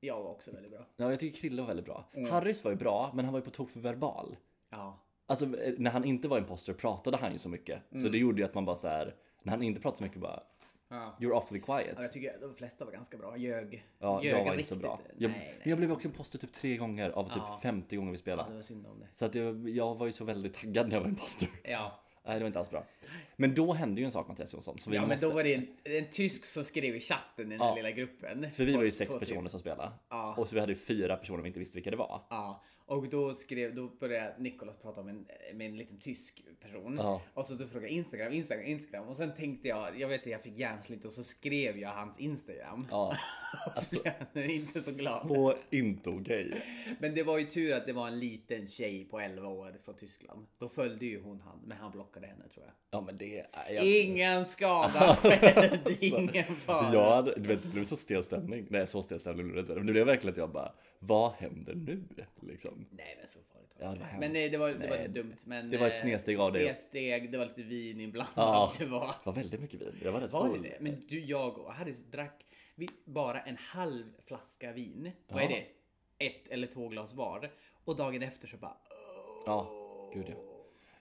[SPEAKER 1] jag var också väldigt bra.
[SPEAKER 2] Ja, jag tycker Krille var väldigt bra.
[SPEAKER 1] Mm.
[SPEAKER 2] Harris var ju bra, men han var ju på tok för verbal.
[SPEAKER 1] Ja.
[SPEAKER 2] Alltså eh, när han inte var imposter pratade han ju så mycket.
[SPEAKER 1] Mm.
[SPEAKER 2] Så det gjorde ju att man bara så här. när han inte pratade så mycket bara
[SPEAKER 1] ja.
[SPEAKER 2] You're awfully quiet.
[SPEAKER 1] Jag tycker de flesta var ganska bra. Ljög.
[SPEAKER 2] Ja,
[SPEAKER 1] ljög
[SPEAKER 2] jag var inte
[SPEAKER 1] riktigt.
[SPEAKER 2] så bra.
[SPEAKER 1] Nej,
[SPEAKER 2] Jag,
[SPEAKER 1] nej.
[SPEAKER 2] jag blev också imposter typ tre gånger av typ 50 gånger
[SPEAKER 1] Ja,
[SPEAKER 2] vi
[SPEAKER 1] det
[SPEAKER 2] spelade.
[SPEAKER 1] var synd om det.
[SPEAKER 2] Så att jag, jag var ju så väldigt taggad när jag var imposter.
[SPEAKER 1] Ja.
[SPEAKER 2] Nej, det var inte alls bra. Men då hände ju en sak Mattias Jonsson. Så vi
[SPEAKER 1] Ja men
[SPEAKER 2] måste,
[SPEAKER 1] då var det en, en tysk som skrev i chatten i den här
[SPEAKER 2] Ja.
[SPEAKER 1] lilla gruppen.
[SPEAKER 2] För vi var ju
[SPEAKER 1] På-
[SPEAKER 2] sex
[SPEAKER 1] på typ-
[SPEAKER 2] personer som spelade.
[SPEAKER 1] Ja.
[SPEAKER 2] Och så vi hade ju fyra personer vi inte visste vilka det var.
[SPEAKER 1] Ja, och då skrev, då började Nikolas prata om en, med en liten tysk person.
[SPEAKER 2] Ja.
[SPEAKER 1] Och så då frågade jag Instagram, Instagram, Instagram. Och sen tänkte jag, jag vet inte, jag fick hjärnsligt och så skrev jag hans Instagram.
[SPEAKER 2] Ja. Alltså,
[SPEAKER 1] och så blev han inte så glad.
[SPEAKER 2] Så inte okej.
[SPEAKER 1] Men det var ju tur att det var en liten tjej på 11 år från Tyskland. Då följde ju hon han, men han skadade henne tror jag.
[SPEAKER 2] Ja men det är... Jag, Alltså,
[SPEAKER 1] Ingen skada skedd, ingen fara.
[SPEAKER 2] jag hade, du vet, det blev så stel stämning. Nej så stel stämning blev det inte. Men det blev verkligen att jag bara, vad händer nu? Liksom.
[SPEAKER 1] Nej men så farligt var
[SPEAKER 2] Ja,
[SPEAKER 1] det
[SPEAKER 2] det var
[SPEAKER 1] inte. Men nej, det var, det
[SPEAKER 2] hemskt.
[SPEAKER 1] var
[SPEAKER 2] Nej,
[SPEAKER 1] lite dumt. Men,
[SPEAKER 2] det var ett
[SPEAKER 1] eh,
[SPEAKER 2] snedsteg av dig.
[SPEAKER 1] Snedsteg, det var lite vin inblandat.
[SPEAKER 2] Ja.
[SPEAKER 1] Det var,
[SPEAKER 2] Det var väldigt mycket vin. Jag var rätt
[SPEAKER 1] var det
[SPEAKER 2] full.
[SPEAKER 1] det? Men du, jag och Harris drack vi, bara en halv flaska vin. Vad
[SPEAKER 2] Ja.
[SPEAKER 1] är det? Ett eller två glas var. Och dagen efter så bara...
[SPEAKER 2] Ja, gud ja.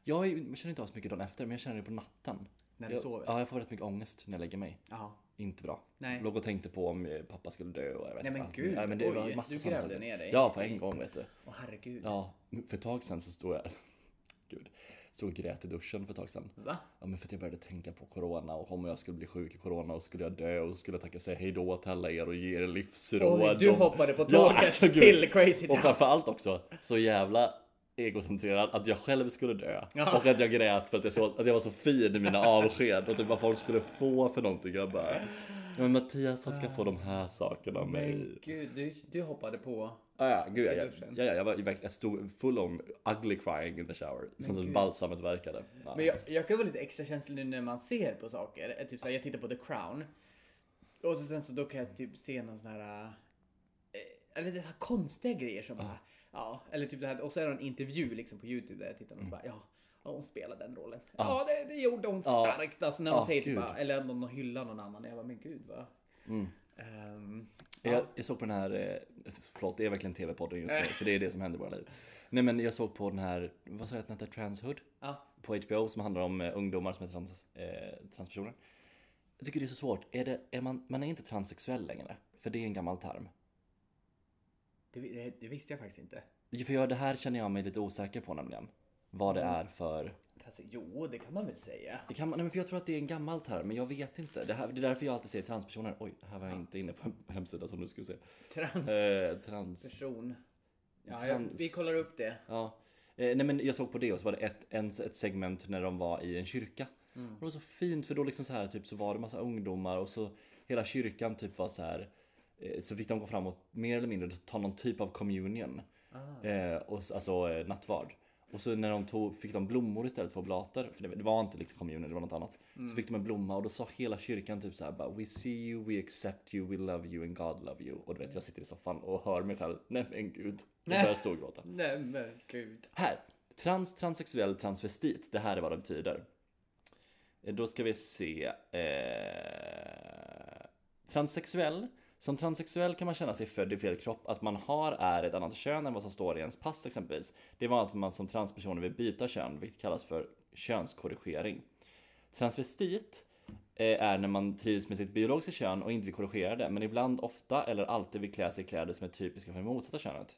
[SPEAKER 2] Jag är- känner inte av så mycket dagen efter, men jag känner det på natten.
[SPEAKER 1] När du
[SPEAKER 2] jag,
[SPEAKER 1] sover?
[SPEAKER 2] Ja, jag får rätt mycket ångest när jag lägger mig.
[SPEAKER 1] Ja.
[SPEAKER 2] Inte bra.
[SPEAKER 1] Nej.
[SPEAKER 2] Låg och tänkte på om eh, pappa skulle dö och jag vet
[SPEAKER 1] Nej, men
[SPEAKER 2] allt.
[SPEAKER 1] gud,
[SPEAKER 2] Nej, men det
[SPEAKER 1] oj,
[SPEAKER 2] var massa
[SPEAKER 1] du
[SPEAKER 2] sådana
[SPEAKER 1] grävde
[SPEAKER 2] saker.
[SPEAKER 1] ner dig.
[SPEAKER 2] Ja, på en gång vet du.
[SPEAKER 1] Åh herregud.
[SPEAKER 2] Ja, för ett tag sedan så stod jag... Gud. Stod och grät i duschen för ett tag sedan.
[SPEAKER 1] Va?
[SPEAKER 2] Ja, men för att jag började tänka på corona och om jag skulle bli sjuk i corona och skulle jag dö och så skulle jag tacka säga hej då till alla er och ge er livsråd.
[SPEAKER 1] Oj, du
[SPEAKER 2] om-
[SPEAKER 1] hoppade på
[SPEAKER 2] Ja,
[SPEAKER 1] tåget
[SPEAKER 2] alltså, gud.
[SPEAKER 1] till Crazy
[SPEAKER 2] Och
[SPEAKER 1] Town.
[SPEAKER 2] framförallt också så jävla egocentrerad att jag själv skulle dö
[SPEAKER 1] Ja.
[SPEAKER 2] och att jag grät för att jag, så, att jag var så fin i mina avsked och typ vad folk skulle få för någonting. Jag bara, ja, men Mattias han ska få de här sakerna av mig.
[SPEAKER 1] Men gud, du, du hoppade på...
[SPEAKER 2] Ja, ja, gud, ja,
[SPEAKER 1] I
[SPEAKER 2] ja,
[SPEAKER 1] duschen.
[SPEAKER 2] ja, ja, jag, var, ju verkligen- jag stod full om ugly crying in the shower. Sen så
[SPEAKER 1] gud.
[SPEAKER 2] balsamet verkade. Ja,
[SPEAKER 1] Men jag, jag kan vara lite extra känslig nu när man ser på saker. Eh, Typ såhär, jag tittar på The Crown. Och så sen så då kan jag typ se någon sån här... eh, Eller det här konstiga grejer som bara... Ja, eller typ det här. Och så är det en intervju liksom på YouTube där jag tittar och
[SPEAKER 2] Mm.
[SPEAKER 1] bara ja. ja, Hon spelar den rollen. Ja, det, det gjorde hon
[SPEAKER 2] Ja.
[SPEAKER 1] starkt. Alltså när hon
[SPEAKER 2] Ja,
[SPEAKER 1] säger typ
[SPEAKER 2] gud. Mm.
[SPEAKER 1] bara, eller om någon hyllar någon annan. Jag bara, men gud va. Ehm,
[SPEAKER 2] Jag, jag såg på den här, eh, förlåt det är verkligen TV-podden just nu för det är det som händer i våra liv. Nej men jag såg på den här, vad sa jag att den hette? Transhood?
[SPEAKER 1] Ja.
[SPEAKER 2] På HBO som handlar om eh, ungdomar som är trans, eh, transpersoner. Jag tycker det är så svårt, är det, är man, man är inte transsexuell längre. För det är en gammal term.
[SPEAKER 1] det, det, det visste jag faktiskt inte.
[SPEAKER 2] Jo, För jag, det här känner jag mig lite osäker på nämligen. Vad det är för...
[SPEAKER 1] Alltså, jo, det kan man väl säga.
[SPEAKER 2] Det kan man, nej, men för jag tror att det är en gammal term, men jag vet inte. Det, här, det är därför jag alltid säger transpersoner. Oj, här var jag inte inne på en hemsida som du skulle se.
[SPEAKER 1] Trans.
[SPEAKER 2] Eh, trans...
[SPEAKER 1] person. Ja, jag, vi
[SPEAKER 2] Trans-
[SPEAKER 1] kollar upp det.
[SPEAKER 2] Ja. Eh, nej men jag såg på det och så var det ett, en, ett segment när de var i en kyrka. Och det var så fint för då liksom så här typ så var det massa ungdomar och så hela kyrkan typ var så här eh, så fick de gå fram och mer eller mindre ta någon typ av communion. Eh, och, s- alltså eh, nattvard. Och så när de tog, fick de blommor istället för oblater, för det, det var inte liksom communion, det var något annat. Så fick de en blomma och då sa hela kyrkan typ så här bara We see you, we accept you, we love you and God love you. Och du vet jag sitter i soffan och hör mig själv, nej men gud. Och börjar storgråta.
[SPEAKER 1] Nej men gud.
[SPEAKER 2] Här! Trans, transsexuell, transvestit. Det här är vad det betyder. Eh, Då ska vi se. Eh, transsexuell. Som transsexuell kan man känna sig född i fel kropp. Att man har är ett annat kön än vad som står i ens pass exempelvis. Det är vanligt att man som transpersoner vill byta kön, vilket kallas för könskorrigering. Transvestit eh, är när man trivs med sitt biologiska kön och inte vill korrigera det, men ibland ofta eller alltid vill klä sig i kläder som är typiska för det motsatta könet.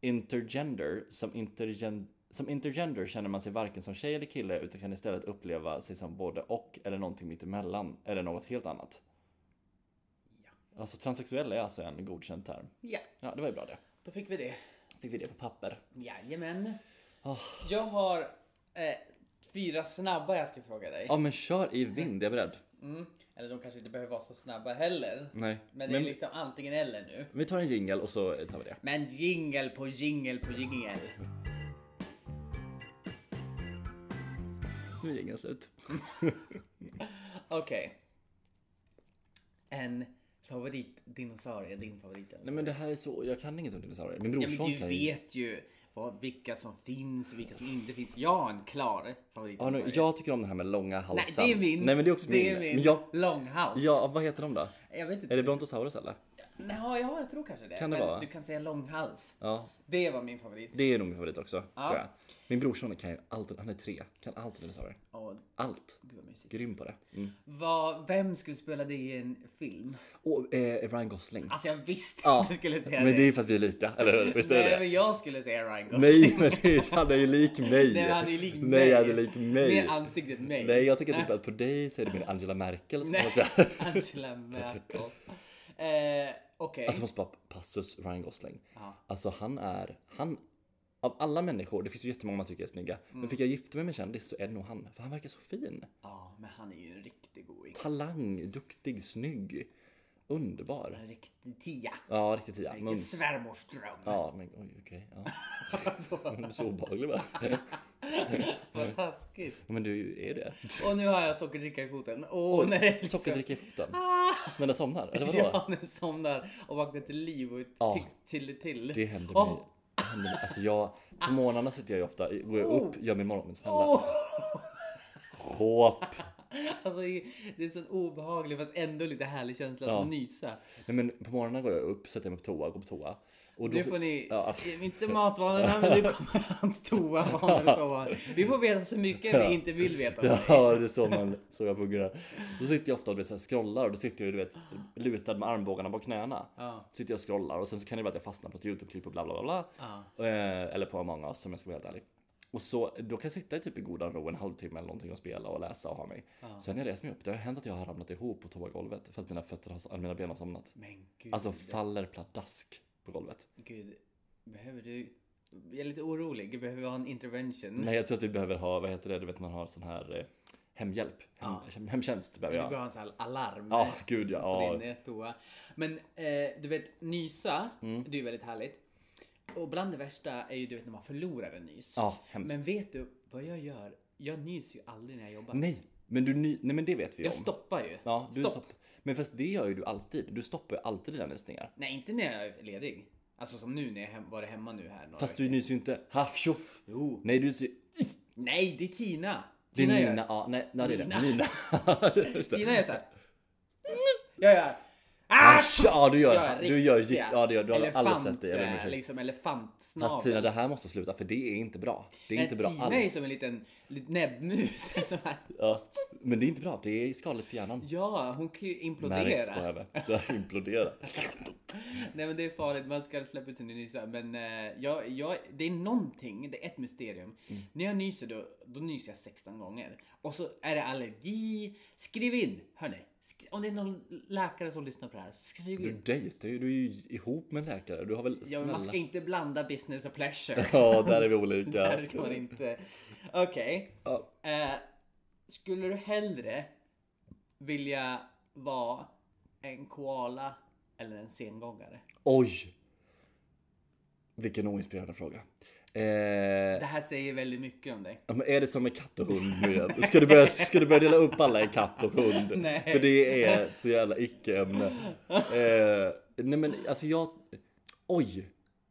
[SPEAKER 2] Intergender, som, intergen, som intergender känner man sig varken som tjej eller kille utan kan istället uppleva sig som både och eller någonting mitt emellan eller något helt annat. Alltså transsexuell är alltså en godkänd term.
[SPEAKER 1] Ja,
[SPEAKER 2] Ja, det var ju bra det.
[SPEAKER 1] då fick vi det.
[SPEAKER 2] Fick vi det på papper.
[SPEAKER 1] Jajamän.
[SPEAKER 2] Ah,
[SPEAKER 1] Jag har eh, fyra snabba jag ska fråga dig.
[SPEAKER 2] Ja, men kör i vind, jag är beredd.
[SPEAKER 1] Mm. Eller de kanske inte behöver vara så snabba heller.
[SPEAKER 2] Nej,
[SPEAKER 1] Men det är
[SPEAKER 2] men-
[SPEAKER 1] lite antingen eller nu.
[SPEAKER 2] Vi tar en jingle och så tar vi det.
[SPEAKER 1] Men jingel på jingel på jingel.
[SPEAKER 2] Nu är jingeln slut.
[SPEAKER 1] Okej. En favoritdinosaurie, din favorit.
[SPEAKER 2] Nej men det här är så, jag kan inget om dinosaurier. Min
[SPEAKER 1] Ja,
[SPEAKER 2] brorson
[SPEAKER 1] men du
[SPEAKER 2] kan ju.
[SPEAKER 1] vet ju vad, vilka som finns och vilka som inte finns. Jag har en klar
[SPEAKER 2] Ja,
[SPEAKER 1] favoritdinosaurie.
[SPEAKER 2] nu, jag tycker om den här med långa
[SPEAKER 1] Nej,
[SPEAKER 2] halsen.
[SPEAKER 1] det är min.
[SPEAKER 2] Nej men det är också
[SPEAKER 1] det
[SPEAKER 2] min.
[SPEAKER 1] Är min.
[SPEAKER 2] Men jag,
[SPEAKER 1] Långhals.
[SPEAKER 2] ja, vad heter de då?
[SPEAKER 1] Jag vet inte.
[SPEAKER 2] Är det Brontosaurus eller?
[SPEAKER 1] Nej, ja, jag tror kanske det.
[SPEAKER 2] Kan det
[SPEAKER 1] men
[SPEAKER 2] vara?
[SPEAKER 1] du kan säga långhals.
[SPEAKER 2] Ja,
[SPEAKER 1] Det var min favorit.
[SPEAKER 2] det är nog min favorit också.
[SPEAKER 1] Ja.
[SPEAKER 2] Tror jag. Min brorson kan ju allt, han är tre, kan allt dinosaurier.
[SPEAKER 1] Åh,
[SPEAKER 2] Allt.
[SPEAKER 1] gud vad mysigt.
[SPEAKER 2] Grym på det. Mm.
[SPEAKER 1] Vad, vem skulle spela det i en film?
[SPEAKER 2] Och eh, Ryan Gosling.
[SPEAKER 1] Alltså jag visste
[SPEAKER 2] Ja,
[SPEAKER 1] att du skulle säga
[SPEAKER 2] men det är
[SPEAKER 1] det.
[SPEAKER 2] ju för att vi är lika, eller hur? Visst är
[SPEAKER 1] Nej,
[SPEAKER 2] det det?
[SPEAKER 1] men jag skulle säga Ryan Gosling.
[SPEAKER 2] Nej men det är- han är ju lik mig.
[SPEAKER 1] Nej, men han är ju lik mig.
[SPEAKER 2] Nej han är lik mig.
[SPEAKER 1] Mer ansiktet mig.
[SPEAKER 2] Nej jag tycker typ att på dig så är det min Angela Merkel som
[SPEAKER 1] Nej,
[SPEAKER 2] måste...
[SPEAKER 1] Angela Merkel. Eh, Okej.
[SPEAKER 2] Alltså måste bara passus Ryan Gosling.
[SPEAKER 1] Ja.
[SPEAKER 2] Alltså han är, han av alla människor, det finns ju jättemånga man tycker är snygga.
[SPEAKER 1] Mm.
[SPEAKER 2] Men fick jag gifta mig med en kändis så är det nog han. För han verkar så fin.
[SPEAKER 1] Ja, men han är ju en riktig going.
[SPEAKER 2] Talang, duktig, snygg, underbar.
[SPEAKER 1] En riktig tia.
[SPEAKER 2] Ja, riktigt tia.
[SPEAKER 1] En
[SPEAKER 2] Mums.
[SPEAKER 1] svärmorsdröm.
[SPEAKER 2] Ja, men oj, okej. Ja. Du är så obehaglig va?
[SPEAKER 1] Vad taskigt.
[SPEAKER 2] Men du är det.
[SPEAKER 1] Och nu har jag sockerdricka i foten. Åh nej.
[SPEAKER 2] Sockerdricka i foten.
[SPEAKER 1] Ah!
[SPEAKER 2] Men den somnar? Eller vadå?
[SPEAKER 1] Ja, nu somnar och vaknar till liv och
[SPEAKER 2] Ja.
[SPEAKER 1] till till. till.
[SPEAKER 2] Det händer
[SPEAKER 1] Åh. Ah!
[SPEAKER 2] mig. Det händer mig. Alltså jag, på morgnarna sitter jag ju ofta, går jag upp, gör min morgonvändsnälla.
[SPEAKER 1] Oh! Åh!
[SPEAKER 2] Hopp!
[SPEAKER 1] Alltså, det det är en sån obehaglig fast ändå lite härlig känsla som
[SPEAKER 2] Ja.
[SPEAKER 1] att nysa.
[SPEAKER 2] Nej men på morgnarna går jag upp, sätter mig på toa, går på toa. Och då,
[SPEAKER 1] Nu får ni,
[SPEAKER 2] Ja.
[SPEAKER 1] inte matvanorna men nu kommer hans toavanor och sovvanor. Vi får veta så mycket vi inte vill veta. om dig.
[SPEAKER 2] Ja, det är så, man, så jag fungerar. Då sitter jag ofta och du vet, så här scrollar och då sitter jag du vet, lutad med armbågarna på knäna.
[SPEAKER 1] Ja.
[SPEAKER 2] Sitter jag och scrollar och sen så kan det vara att jag fastnar på ett YouTube-klipp och bla bla bla. bla.
[SPEAKER 1] Ja.
[SPEAKER 2] Eh, eller på Among Us om jag ska vara helt ärlig. Och så, då kan jag sitta i typ i godan ro en halvtimme eller någonting och spela och läsa och ha mig. Sen när jag reser mig upp, det har hänt att jag har ramlat ihop på toagolvet för att mina, fötter har, mina ben har somnat.
[SPEAKER 1] Men gud,
[SPEAKER 2] Alltså faller pladask på golvet.
[SPEAKER 1] gud. Behöver du? Jag är lite orolig. Behöver vi ha en intervention?
[SPEAKER 2] Nej, jag tror att vi behöver ha, vad heter det, du vet man har sån här eh, hemhjälp. Hem, Hemtjänst
[SPEAKER 1] Du
[SPEAKER 2] behöver
[SPEAKER 1] behöver
[SPEAKER 2] jag.
[SPEAKER 1] ha en sån här alarm.
[SPEAKER 2] Ja, gud ja.
[SPEAKER 1] på
[SPEAKER 2] ja.
[SPEAKER 1] din eh, toa. Men eh, du vet, nysa,
[SPEAKER 2] Mm.
[SPEAKER 1] det är ju väldigt härligt. Och bland det värsta är ju du vet när man förlorar en nys.
[SPEAKER 2] Ja, hemskt.
[SPEAKER 1] Men vet du vad jag gör? Jag nyser ju aldrig när jag jobbar.
[SPEAKER 2] Nej, men du ny... Nej men det vet vi
[SPEAKER 1] Jag
[SPEAKER 2] om.
[SPEAKER 1] stoppar ju.
[SPEAKER 2] Ja, du
[SPEAKER 1] Stopp.
[SPEAKER 2] stopp. Men fast det gör ju du alltid. Du stoppar ju alltid dina nysningar.
[SPEAKER 1] Nej, inte när jag är ledig. Alltså som nu när jag hem, varit hemma nu här några
[SPEAKER 2] Fast
[SPEAKER 1] veckor.
[SPEAKER 2] du nyser ju inte ha tjoff.
[SPEAKER 1] Jo.
[SPEAKER 2] Nej, du ser...
[SPEAKER 1] Nej, det är Tina.
[SPEAKER 2] Det är
[SPEAKER 1] Tina gör,
[SPEAKER 2] Nina. Ja, nej, nej, det är
[SPEAKER 1] Nina.
[SPEAKER 2] det. Nina. Just det.
[SPEAKER 1] Tina gör såhär. Jag gör. Ah!
[SPEAKER 2] Asch! Ja, du gör
[SPEAKER 1] Jag
[SPEAKER 2] det. Du gör
[SPEAKER 1] riktiga
[SPEAKER 2] gitt- Ja, det gör du. har aldrig
[SPEAKER 1] elefant,
[SPEAKER 2] sett det. Jag ber om
[SPEAKER 1] eh,
[SPEAKER 2] ursäkt.
[SPEAKER 1] liksom elefantsnabel.
[SPEAKER 2] Fast Tina, det här måste sluta för det är inte bra. Det är inte bra
[SPEAKER 1] Tina är
[SPEAKER 2] alls.
[SPEAKER 1] som en liten, liten näbbmus. som här.
[SPEAKER 2] Ja, men det är inte bra. Det är skadligt för hjärnan.
[SPEAKER 1] Ja, hon kan ju
[SPEAKER 2] Märks på
[SPEAKER 1] implodera.
[SPEAKER 2] henne. Det här imploderar.
[SPEAKER 1] Nej men det är farligt, man ska släppa ut sina nysar. Men eh, jag, jag, det är någonting, det är ett mysterium.
[SPEAKER 2] Mm.
[SPEAKER 1] När jag nyser då, då nyser jag 16 gånger. Och så är det allergi. Skriv in, hörni. Sk- om det är någon läkare som lyssnar på det här, skriv
[SPEAKER 2] Du
[SPEAKER 1] in.
[SPEAKER 2] dejtar ju. Du är ju ihop med en läkare. Du har väl...
[SPEAKER 1] Ja, men man ska
[SPEAKER 2] snälla-
[SPEAKER 1] inte blanda business och pleasure.
[SPEAKER 2] Ja, där är vi olika.
[SPEAKER 1] Där ska man inte. Okej.
[SPEAKER 2] Ja.
[SPEAKER 1] Eh, skulle du hellre vilja vara en koala eller en sengångare?
[SPEAKER 2] Oj! Vilken oinspirerande fråga. Eh,
[SPEAKER 1] Det här säger väldigt mycket om dig.
[SPEAKER 2] ja, men är det som med katt och hund nu igen? Ska du börja, ska du börja dela upp alla i katt och hund?
[SPEAKER 1] Nej.
[SPEAKER 2] För det är så jävla icke-ämne. Eh, nej men alltså jag... Oj!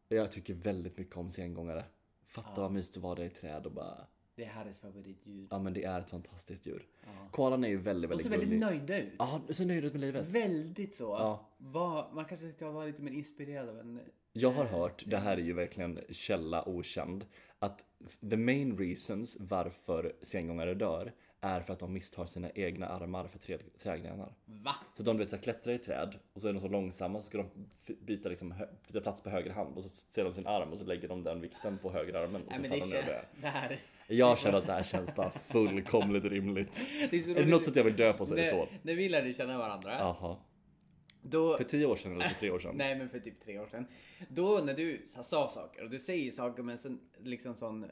[SPEAKER 2] Jag tycker väldigt mycket om sengångare. Fatta vad mysigt att vara där i träd och bara...
[SPEAKER 1] Det är Harrys favoritdjur.
[SPEAKER 2] Ja men det är ett fantastiskt djur. Koalan är ju väldigt,
[SPEAKER 1] De
[SPEAKER 2] väldigt
[SPEAKER 1] ser väldigt
[SPEAKER 2] gullig.
[SPEAKER 1] nöjda ut.
[SPEAKER 2] Ja, så nöjd ut med livet.
[SPEAKER 1] Väldigt så.
[SPEAKER 2] Ja.
[SPEAKER 1] Vad- man kanske ska vara lite mer inspirerad av en...
[SPEAKER 2] Jag har hört, det här är ju verkligen källa okänd, att the main reasons varför sengångare dör är för att de misstar sina egna armar för trä- trädgrenar.
[SPEAKER 1] Va?
[SPEAKER 2] Så de du vet, så här, klättrar i träd och så är de så långsamma så ska de f- byta, liksom, hö- byta plats på höger hand och så ser de sin arm och så lägger de den vikten på höger armen och så
[SPEAKER 1] Nej, men
[SPEAKER 2] faller
[SPEAKER 1] det,
[SPEAKER 2] de ner och dör.
[SPEAKER 1] känns, det, här,
[SPEAKER 2] Jag känner att det här känns bara fullkomligt rimligt.
[SPEAKER 1] det är så
[SPEAKER 2] Är det något
[SPEAKER 1] roligt.
[SPEAKER 2] sätt jag vill dö på så är det så.
[SPEAKER 1] När, när vi lärde känna varandra,
[SPEAKER 2] Jaha.
[SPEAKER 1] då...
[SPEAKER 2] För tio år sedan eller för tre år sedan?
[SPEAKER 1] Nej men för typ tre år sedan. Då när du sa, sa saker och du säger saker med en sån, liksom sån eh,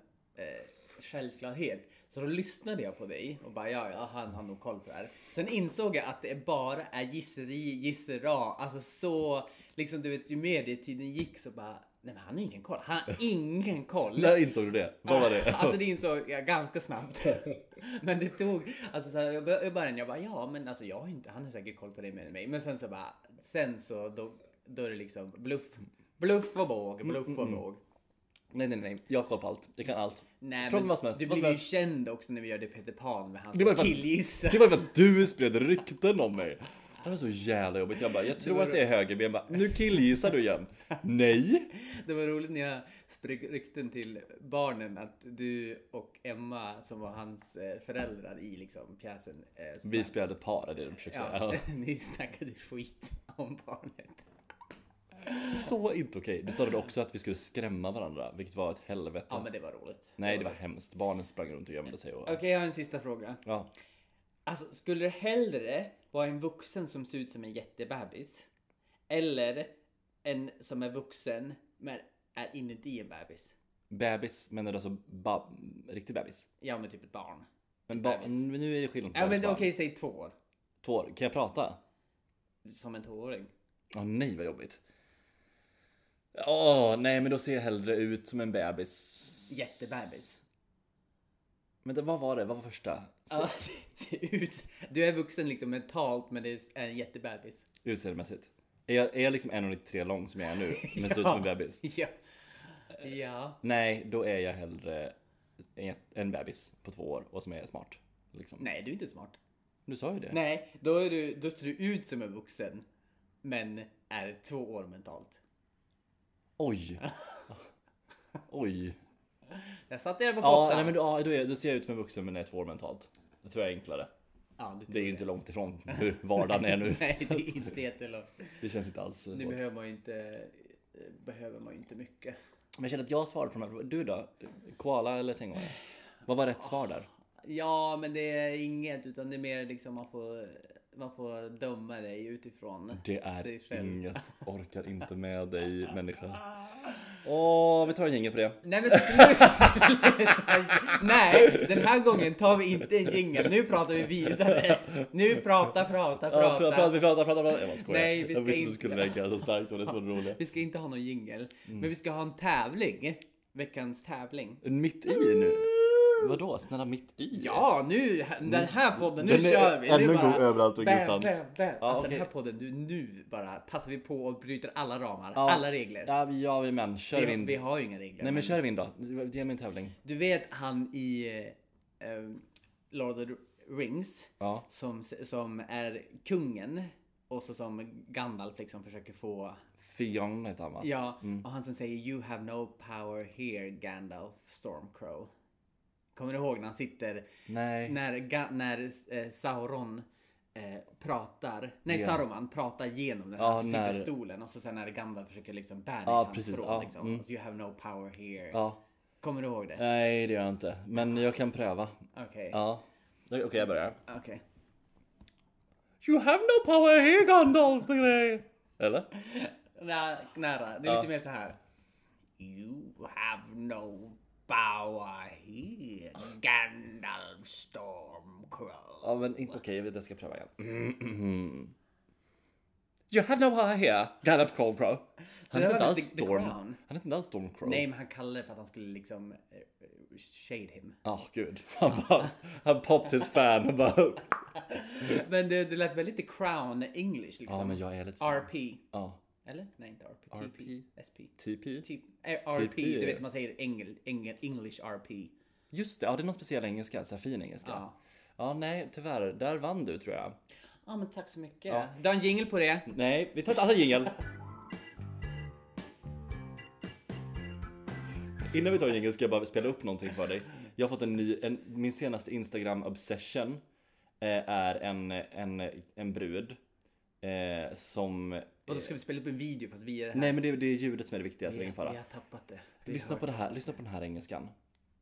[SPEAKER 1] självklarhet. Så då lyssnade jag på dig och bara ja, ja han har nog koll på det här. Sen insåg jag att det bara är gisseri, gissera. Alltså så, liksom du vet ju mer det tiden gick så bara nej men han har ingen koll. Han har ingen koll.
[SPEAKER 2] När insåg du det? Vad var det?
[SPEAKER 1] Alltså det insåg jag ganska snabbt. Men det tog, alltså så här, jag bör- i början jag bara ja men alltså jag har inte, han har säkert koll på det mer än mig. Men sen så bara, sen så då, då är det liksom bluff, bluff och
[SPEAKER 2] Mm,
[SPEAKER 1] båg, bluff och båg.
[SPEAKER 2] Nej, nej, nej. Jag har koll på allt. Jag kan allt.
[SPEAKER 1] Nej
[SPEAKER 2] Fråga
[SPEAKER 1] men
[SPEAKER 2] vad som helst.
[SPEAKER 1] du
[SPEAKER 2] Vad som
[SPEAKER 1] blev ju
[SPEAKER 2] helst.
[SPEAKER 1] känd också när vi gjorde Peter Pan med hans
[SPEAKER 2] Det var ju för att-
[SPEAKER 1] killgissa.
[SPEAKER 2] Det var ju för att du spred rykten om mig. Det var så jävla jobbigt. Jag bara, jag tror att det är högerben. Bara, nu killgissar du igen. Nej.
[SPEAKER 1] Det var roligt när jag spred rykten till barnen att du och Emma som var hans eh, föräldrar i liksom pjäsen. eh,
[SPEAKER 2] Vi spelade par, är det du försöker
[SPEAKER 1] Ja,
[SPEAKER 2] säga.
[SPEAKER 1] ni snackade skit om barnet.
[SPEAKER 2] Så inte okej. Du startade också att vi skulle skrämma varandra, vilket var ett helvete.
[SPEAKER 1] Ja men det var roligt.
[SPEAKER 2] Nej, det var hemskt. Barnen sprang runt och gömde sig. Och...
[SPEAKER 1] Okej, jag har en sista fråga.
[SPEAKER 2] Ja.
[SPEAKER 1] Alltså, skulle du hellre vara en vuxen som ser ut som en jättebebis? Eller en som är vuxen men är inuti en bebis?
[SPEAKER 2] Bebis, men alltså ba... riktig bebis.
[SPEAKER 1] Ja, men typ ett barn.
[SPEAKER 2] Men ba...
[SPEAKER 1] Bebis.
[SPEAKER 2] men nu är det skillnad på
[SPEAKER 1] Ja, men
[SPEAKER 2] bebis
[SPEAKER 1] okej,
[SPEAKER 2] och barn.
[SPEAKER 1] säg två år.
[SPEAKER 2] Två år. Kan jag prata?
[SPEAKER 1] Som en tvååring.
[SPEAKER 2] Åh nej vad jobbigt. Åh nej men då ser jag hellre ut som en bebis.
[SPEAKER 1] Jättebebis.
[SPEAKER 2] Men det, vad var det? Vad var första?
[SPEAKER 1] Ja, se, se ut. Du är vuxen liksom mentalt men det är en jättebebis.
[SPEAKER 2] Utseendemässigt. Är jag, är jag liksom 1,93 lång som jag är nu, men ser ut som en bebis?
[SPEAKER 1] Ja. Ja.
[SPEAKER 2] Nej, då är jag hellre en- en bebis på två år och som är smart. Liksom.
[SPEAKER 1] Nej, du är inte smart.
[SPEAKER 2] Du sa ju det.
[SPEAKER 1] Nej, då, är du, då ser du ut som en vuxen. Men är två år mentalt.
[SPEAKER 2] Oj! Oj.
[SPEAKER 1] Jag satt där på
[SPEAKER 2] Ja,
[SPEAKER 1] pottan.
[SPEAKER 2] nej, men du, ja, då, är, då ser jag ut som en vuxen men är två år mentalt. Det tror jag är enklare.
[SPEAKER 1] Ja, du tror
[SPEAKER 2] Det är ju inte långt ifrån hur vardagen är nu.
[SPEAKER 1] Nej, det är inte jättelångt.
[SPEAKER 2] Det känns inte alls svårt.
[SPEAKER 1] Nu
[SPEAKER 2] Men
[SPEAKER 1] behöver man ju inte, eh, behöver man ju inte mycket.
[SPEAKER 2] jag känner att jag svarar på de här frågorna. Du då? Koala eller sängångare? Vad var rätt svar där?
[SPEAKER 1] Ja, men det är inget utan det är mer liksom man får, man får döma dig utifrån.
[SPEAKER 2] Det är
[SPEAKER 1] sig själv.
[SPEAKER 2] inget. Orkar inte med dig människa.
[SPEAKER 1] Ah.
[SPEAKER 2] Åh, vi tar en jingel på det.
[SPEAKER 1] Nej men sluta! sluta. Nej, den här gången tar vi inte en jingel. Nu pratar vi vidare. Nu prata, prata,
[SPEAKER 2] Ja,
[SPEAKER 1] prata.
[SPEAKER 2] prata, prata, vi pratar, pratar, pratar. Jag bara skojar.
[SPEAKER 1] Nej, vi
[SPEAKER 2] jag
[SPEAKER 1] ska
[SPEAKER 2] visste
[SPEAKER 1] inte.
[SPEAKER 2] du skulle reagera så starkt och det var det roliga.
[SPEAKER 1] Vi ska inte ha någon jingel.
[SPEAKER 2] Mm.
[SPEAKER 1] Men vi ska ha en tävling. Veckans tävling.
[SPEAKER 2] Mitt i nu? Vadå? Snälla mitt i?
[SPEAKER 1] Ja, nu, den här podden, nu
[SPEAKER 2] Den är
[SPEAKER 1] kör vi! Nu
[SPEAKER 2] ännu en
[SPEAKER 1] bara-
[SPEAKER 2] gång överallt och
[SPEAKER 1] bam,
[SPEAKER 2] ingenstans.
[SPEAKER 1] bam, bam.
[SPEAKER 2] Ja,
[SPEAKER 1] alltså
[SPEAKER 2] okej.
[SPEAKER 1] den här podden, du, nu bara passar vi på och bryter alla ramar,
[SPEAKER 2] Ja.
[SPEAKER 1] alla regler.
[SPEAKER 2] Ja, vi- ja vi men kör
[SPEAKER 1] vi,
[SPEAKER 2] vi in.
[SPEAKER 1] vi har ju inga regler.
[SPEAKER 2] Nej men
[SPEAKER 1] men-
[SPEAKER 2] kör vi in då. Ge mig en tävling.
[SPEAKER 1] Du vet han i eh, eh, Lord of the Rings
[SPEAKER 2] Ja.
[SPEAKER 1] som, som är kungen och så som Gandalf liksom försöker få
[SPEAKER 2] Fionn heter han va?
[SPEAKER 1] Ja,
[SPEAKER 2] Mm.
[SPEAKER 1] och han som säger You have no power here Gandalf Stormcrow. Kommer du ihåg när han sitter
[SPEAKER 2] Nej.
[SPEAKER 1] när, Ga- när eh, Sauron eh, pratar, nej
[SPEAKER 2] Ja.
[SPEAKER 1] Saruman pratar genom den här
[SPEAKER 2] Ja,
[SPEAKER 1] ja,
[SPEAKER 2] när-
[SPEAKER 1] superstolen och så sen när Gandalf försöker liksom banish
[SPEAKER 2] Ja,
[SPEAKER 1] han
[SPEAKER 2] precis.
[SPEAKER 1] från
[SPEAKER 2] Ja,
[SPEAKER 1] liksom,
[SPEAKER 2] mm.
[SPEAKER 1] så You have no power here.
[SPEAKER 2] Ja.
[SPEAKER 1] Kommer du ihåg det?
[SPEAKER 2] Nej det gör jag inte. Men jag kan pröva.
[SPEAKER 1] Okej,
[SPEAKER 2] Ja. Okej jag börjar.
[SPEAKER 1] okej.
[SPEAKER 2] You have no power here Gandalf today. Eller?
[SPEAKER 1] Nä, nära, det är lite mer så här. You have no power here Gandalf Stormcrow.
[SPEAKER 2] Ja men inte okej jag vet jag ska pröva igen. Mhm. You have no power here Gandalf Stormcrow. Han
[SPEAKER 1] Det
[SPEAKER 2] heter
[SPEAKER 1] där
[SPEAKER 2] inte
[SPEAKER 1] var
[SPEAKER 2] alls
[SPEAKER 1] The- The
[SPEAKER 2] Storm.
[SPEAKER 1] Crown.
[SPEAKER 2] Han heter inte alls Stormcrow.
[SPEAKER 1] Nej men han kallade det för att han skulle liksom eh, eh, shade him.
[SPEAKER 2] Ja Ah, gud. Han bara, han popped his fan och bara.
[SPEAKER 1] Men det, det lät väl lite crown english liksom.
[SPEAKER 2] Ja men jag är lite så.
[SPEAKER 1] RP.
[SPEAKER 2] Ja.
[SPEAKER 1] Eller? Nej inte RP.
[SPEAKER 2] RP.
[SPEAKER 1] TP. SP.
[SPEAKER 2] TP.
[SPEAKER 1] Typ, eh, RP,
[SPEAKER 2] TP,
[SPEAKER 1] du
[SPEAKER 2] ja.
[SPEAKER 1] vet man säger engel, engel, English RP.
[SPEAKER 2] Just det, ja det är någon speciell engelska, så här fin engelska. Ja.
[SPEAKER 1] Ja.
[SPEAKER 2] nej tyvärr, där vann du tror jag.
[SPEAKER 1] Ja men tack så mycket. Du har en jingle på det.
[SPEAKER 2] Nej, vi tar ett annat jingel. Innan vi tar jingel ska jag bara spela upp någonting för dig. Jag har fått en ny, en, min senaste Instagram obsession eh, är en, en, en brud eh, som...
[SPEAKER 1] Och då ska vi spela upp en video fast vi är här.
[SPEAKER 2] Nej men det, är- det är ljudet som är det viktigaste, ingen
[SPEAKER 1] vi
[SPEAKER 2] fara.
[SPEAKER 1] har tappat det. Vi
[SPEAKER 2] Lyssna
[SPEAKER 1] hör
[SPEAKER 2] på det här, lyssna på den här engelskan.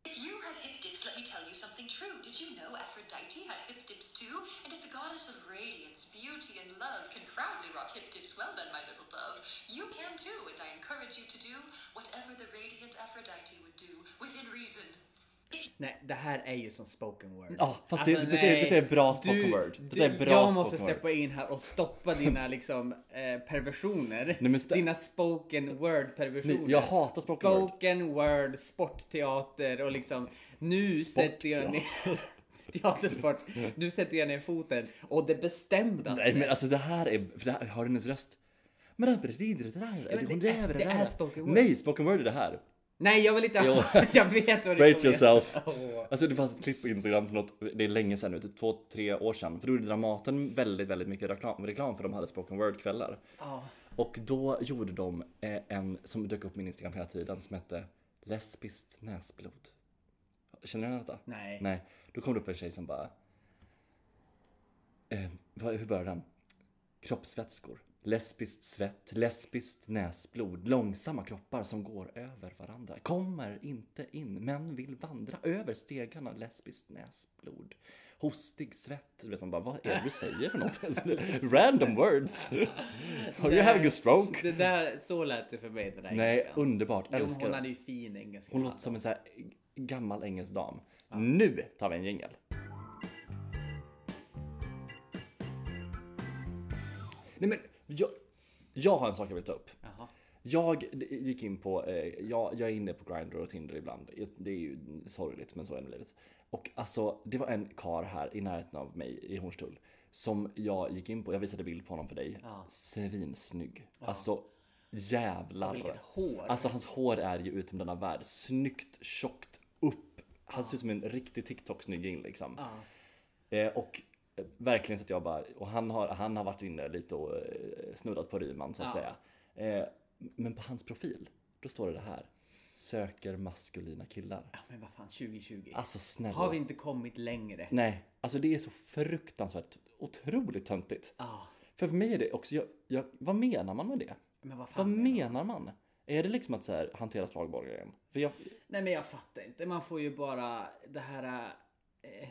[SPEAKER 3] If you have hip dips, let me tell you something true. Did you know Aphrodite had hip dips too? And if the goddess of radiance, beauty, and love can proudly rock hip dips, well then, my little dove, you can too, and I encourage you to do whatever the radiant Aphrodite would do within reason.
[SPEAKER 1] Nej, det här är ju som spoken word. Alltså,
[SPEAKER 2] Ja, fast det- det- det-
[SPEAKER 1] nej.
[SPEAKER 2] det är bra spoken word. Det är bra
[SPEAKER 1] jag måste
[SPEAKER 2] spoken word.
[SPEAKER 1] steppa in här och stoppa dina liksom eh, perversioner.
[SPEAKER 2] men sta-
[SPEAKER 1] dina spoken word perversioner.
[SPEAKER 2] Nej, jag hatar spoken word.
[SPEAKER 1] Spoken word, sportteater och liksom nu sätter jag ner teatersport. Nu sätter jag ner foten och det bestämdaste.
[SPEAKER 2] Nej men alltså det här är, för det här, hör du hennes röst? Men det är det där.
[SPEAKER 1] men
[SPEAKER 2] hon
[SPEAKER 1] det
[SPEAKER 2] där,
[SPEAKER 1] är- det
[SPEAKER 2] där.
[SPEAKER 1] är spoken word.
[SPEAKER 2] Nej, spoken word är det här.
[SPEAKER 1] Nej, jag vill inte.
[SPEAKER 2] Jo.
[SPEAKER 1] jag vet vad det
[SPEAKER 2] Brace
[SPEAKER 1] kommer-
[SPEAKER 2] yourself.
[SPEAKER 1] Åh.
[SPEAKER 2] Alltså det fanns ett klipp på Instagram för något, det är länge sedan nu, typ två, tre år sedan. För då gjorde Dramaten väldigt, väldigt mycket reklam, reklam för de hade spoken word kvällar.
[SPEAKER 1] Ja.
[SPEAKER 2] Och då gjorde de eh, en som dök upp på min Instagram hela tiden som hette Lesbiskt näsblod. Känner du igen detta?
[SPEAKER 1] Nej.
[SPEAKER 2] Nej. Då kom det upp en tjej som bara... Eh, vad, hur börjar den? Kroppsvätskor. Lesbiskt svett, lesbiskt näsblod, långsamma kroppar som går över varandra. Kommer inte in, men vill vandra över stegarna. Lesbiskt näsblod. Hostig svett. Du vet man bara, vad är det du säger för något? Random words. Are you having a stroke?
[SPEAKER 1] Det där, så lät det för mig det där
[SPEAKER 2] Nej,
[SPEAKER 1] engelskan.
[SPEAKER 2] underbart.
[SPEAKER 1] Jo,
[SPEAKER 2] Älskar
[SPEAKER 1] Hon
[SPEAKER 2] det.
[SPEAKER 1] hade ju fin engelska.
[SPEAKER 2] Hon låter som en så här gammal engelsk dam. Nu tar vi en jingel. Nej men, jag, jag har en sak jag vill ta upp.
[SPEAKER 1] Jaha.
[SPEAKER 2] Jag d- gick in på, eh, jag, jag är inne på Grindr och Tinder ibland. Det är ju sorgligt men så är det med livet. Och alltså det var en kar här i närheten av mig i Hornstull som jag gick in på. Jag visade bild på honom för dig.
[SPEAKER 1] Ja.
[SPEAKER 2] Svinsnygg. Alltså jävlar.
[SPEAKER 1] Och vilket hår.
[SPEAKER 2] Alltså hans hår är ju utom denna värld. Snyggt, tjockt, upp. Han ser ut som en riktig TikTok-snygging liksom.
[SPEAKER 1] Ja.
[SPEAKER 2] Eh, och eh, verkligen så att jag bara, och han har, han har varit inne lite och eh, snurrat på Ryman så att
[SPEAKER 1] Ja.
[SPEAKER 2] säga. Eh, men på hans profil, då står det det här. Söker maskulina killar.
[SPEAKER 1] Ja, men vad fan, 2020.
[SPEAKER 2] Alltså snälla.
[SPEAKER 1] Har vi inte kommit längre?
[SPEAKER 2] Nej, alltså det är så fruktansvärt otroligt töntigt.
[SPEAKER 1] Ja,
[SPEAKER 2] För för mig är det också, jag, jag, vad menar man med det?
[SPEAKER 1] men vad
[SPEAKER 2] Vad
[SPEAKER 1] fan.
[SPEAKER 2] menar man? Är det liksom att så här, hantera slagborgaren? För jag,
[SPEAKER 1] Nej, men jag fattar inte. Man får ju bara det här eh, eh,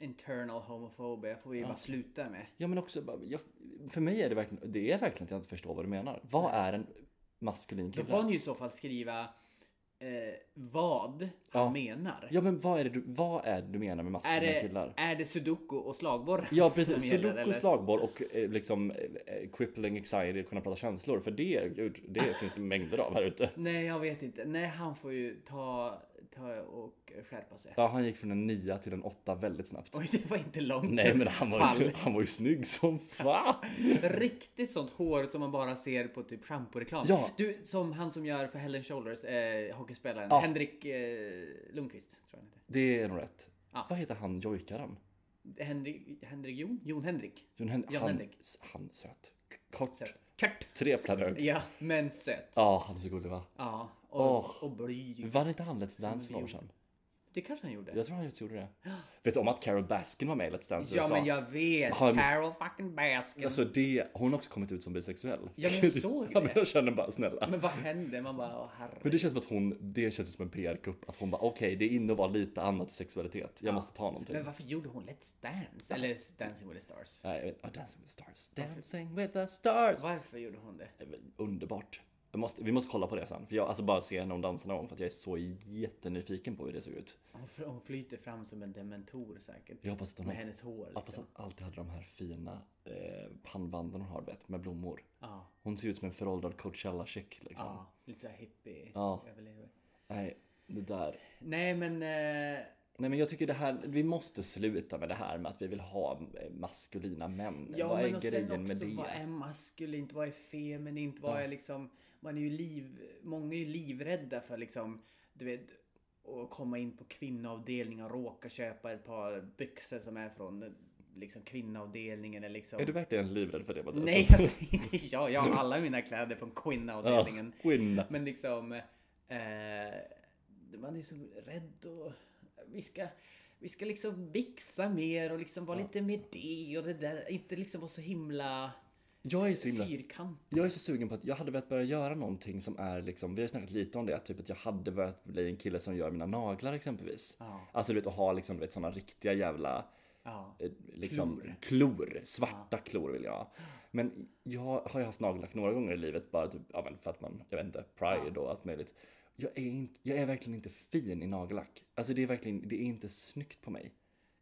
[SPEAKER 1] internal homofobia får vi ju bara sluta med.
[SPEAKER 2] Ja men också, bara- jag, för mig är det verkligen, det är verkligen att jag inte förstår vad du menar. Vad är en maskulin
[SPEAKER 1] Då
[SPEAKER 2] kille?
[SPEAKER 1] får han ju i så fall skriva eh, vad han
[SPEAKER 2] Ja.
[SPEAKER 1] menar.
[SPEAKER 2] Ja men vad är det du, vad är det du menar med maskulina
[SPEAKER 1] är, det,
[SPEAKER 2] killar?
[SPEAKER 1] är det sudoku och slagborren
[SPEAKER 2] Ja
[SPEAKER 1] som
[SPEAKER 2] precis,
[SPEAKER 1] gäller,
[SPEAKER 2] sudoku,
[SPEAKER 1] eller?
[SPEAKER 2] slagboll och eh, liksom eh, eh, crippling anxiety att kunna prata känslor. För det, gud, det finns det mängder av här ute.
[SPEAKER 1] Nej, jag vet inte. Nej, han får ju ta, ta och skärpa sig.
[SPEAKER 2] Ja han gick från en nia till en åtta väldigt snabbt.
[SPEAKER 1] Oj, det var inte långt.
[SPEAKER 2] Nej men han var, ju,
[SPEAKER 1] fall.
[SPEAKER 2] han var ju snygg som fan!
[SPEAKER 1] Riktigt sånt hår som man bara ser på typ schamporeklam.
[SPEAKER 2] Ja.
[SPEAKER 1] Du, som han som gör för Helen Shoulders, eh, hockeyspelaren.
[SPEAKER 2] Ja.
[SPEAKER 1] Henrik eh, Lundqvist, tror jag han heter.
[SPEAKER 2] Det är nog rätt.
[SPEAKER 1] Ja.
[SPEAKER 2] Vad heter han jojkaren?
[SPEAKER 1] Henrik, Henrik Jon? Jon Henrik?
[SPEAKER 2] Jon Hen-
[SPEAKER 1] Jan
[SPEAKER 2] han,
[SPEAKER 1] Henrik.
[SPEAKER 2] han söt. Kort.
[SPEAKER 1] Söt. Kört!
[SPEAKER 2] Treplanögd.
[SPEAKER 1] Ja, men söt.
[SPEAKER 2] Ja han är så gullig va?
[SPEAKER 1] Ja, och,
[SPEAKER 2] Åh.
[SPEAKER 1] och blyg.
[SPEAKER 2] Vann inte han Let's Dance för några år
[SPEAKER 1] vi
[SPEAKER 2] sedan?
[SPEAKER 1] Det kanske han gjorde.
[SPEAKER 2] Jag tror han just gjorde det. Vet du om att Carol Baskin var med i Let's Dance
[SPEAKER 1] Ja,
[SPEAKER 2] USA?
[SPEAKER 1] men jag vet.
[SPEAKER 2] Har jag miss-
[SPEAKER 1] Carol fucking Baskin.
[SPEAKER 2] Alltså det, hon har också kommit ut som bisexuell.
[SPEAKER 1] Ja, men jag såg
[SPEAKER 2] ja, men
[SPEAKER 1] det.
[SPEAKER 2] jag känner bara snälla.
[SPEAKER 1] Men vad hände? Man bara, åh herregud.
[SPEAKER 2] Men det känns som att hon, det känns som en PR-kupp. Att hon bara okej, det är inne att vara lite annat i sexualitet. Jag måste ta någonting.
[SPEAKER 1] Men varför gjorde hon Let's Dance? Eller Dancing with the Stars?
[SPEAKER 2] Nej, jag vet, oh, dancing with the stars. Dancing with the stars.
[SPEAKER 1] Varför gjorde hon det?
[SPEAKER 2] Det är väl Underbart. Jag måste, vi måste kolla på det sen. För jag, alltså bara se när hon dansar någon gång för att jag är så jättenyfiken på hur det såg ut.
[SPEAKER 1] Hon, fl- hon flyter fram som en dementor säkert.
[SPEAKER 2] Jag hoppas att hon
[SPEAKER 1] Med
[SPEAKER 2] har-
[SPEAKER 1] hennes hår.
[SPEAKER 2] Jag hoppas
[SPEAKER 1] Liksom.
[SPEAKER 2] att hon alltid hade de här fina eh, pannbanden hon har du vet, med blommor.
[SPEAKER 1] Ja,
[SPEAKER 2] Hon ser ut som en föråldrad Coachella-chick liksom.
[SPEAKER 1] ja. Lite så här hippie.
[SPEAKER 2] Ja.
[SPEAKER 1] överlevare.
[SPEAKER 2] Nej, det där.
[SPEAKER 1] Nej men... Eh,
[SPEAKER 2] Nej men jag tycker det här, vi måste sluta med det här med att vi vill ha eh, maskulina män.
[SPEAKER 1] ja
[SPEAKER 2] Vad
[SPEAKER 1] men
[SPEAKER 2] är
[SPEAKER 1] och sen
[SPEAKER 2] grejen
[SPEAKER 1] också
[SPEAKER 2] med det?
[SPEAKER 1] vad är maskulint? Vad är feminint? Vad är liksom... Man är ju liv... Många är ju livrädda för liksom... Du vet... Att komma in på kvinnoavdelningen och råka köpa ett par byxor som är från eh, liksom kvinnoavdelningen eller liksom...
[SPEAKER 2] Är du verkligen livrädd för det Mattias?
[SPEAKER 1] Nej, alltså, inte jag. Jag har alla mina kläder från
[SPEAKER 2] Ja,
[SPEAKER 1] Quinn-avdelningen.
[SPEAKER 2] Queen.
[SPEAKER 1] Men liksom... Eh, man är så rädd och... Vi ska, vi ska liksom vixa mer och liksom vara lite med det och det där. Inte liksom vara så himla
[SPEAKER 2] Jag är så himla...
[SPEAKER 1] fyrkant.
[SPEAKER 2] Jag är så sugen på att jag hade velat börja göra någonting som är liksom, vi har ju snackat lite om det, typ att jag hade velat bli en kille som gör mina naglar exempelvis.
[SPEAKER 1] Ja.
[SPEAKER 2] Alltså du vet att ha liksom, du vet sådana riktiga jävla
[SPEAKER 1] Ja.
[SPEAKER 2] eh, liksom,
[SPEAKER 1] Klor.
[SPEAKER 2] klor. Svarta klor vill jag ha. Men jag har ju haft nagellack några gånger i livet bara typ, ja, men för att man, jag vet inte, pride och allt möjligt. Jag är, inte, jag är verkligen inte fin i nagellack. Alltså det är verkligen, det är inte snyggt på mig.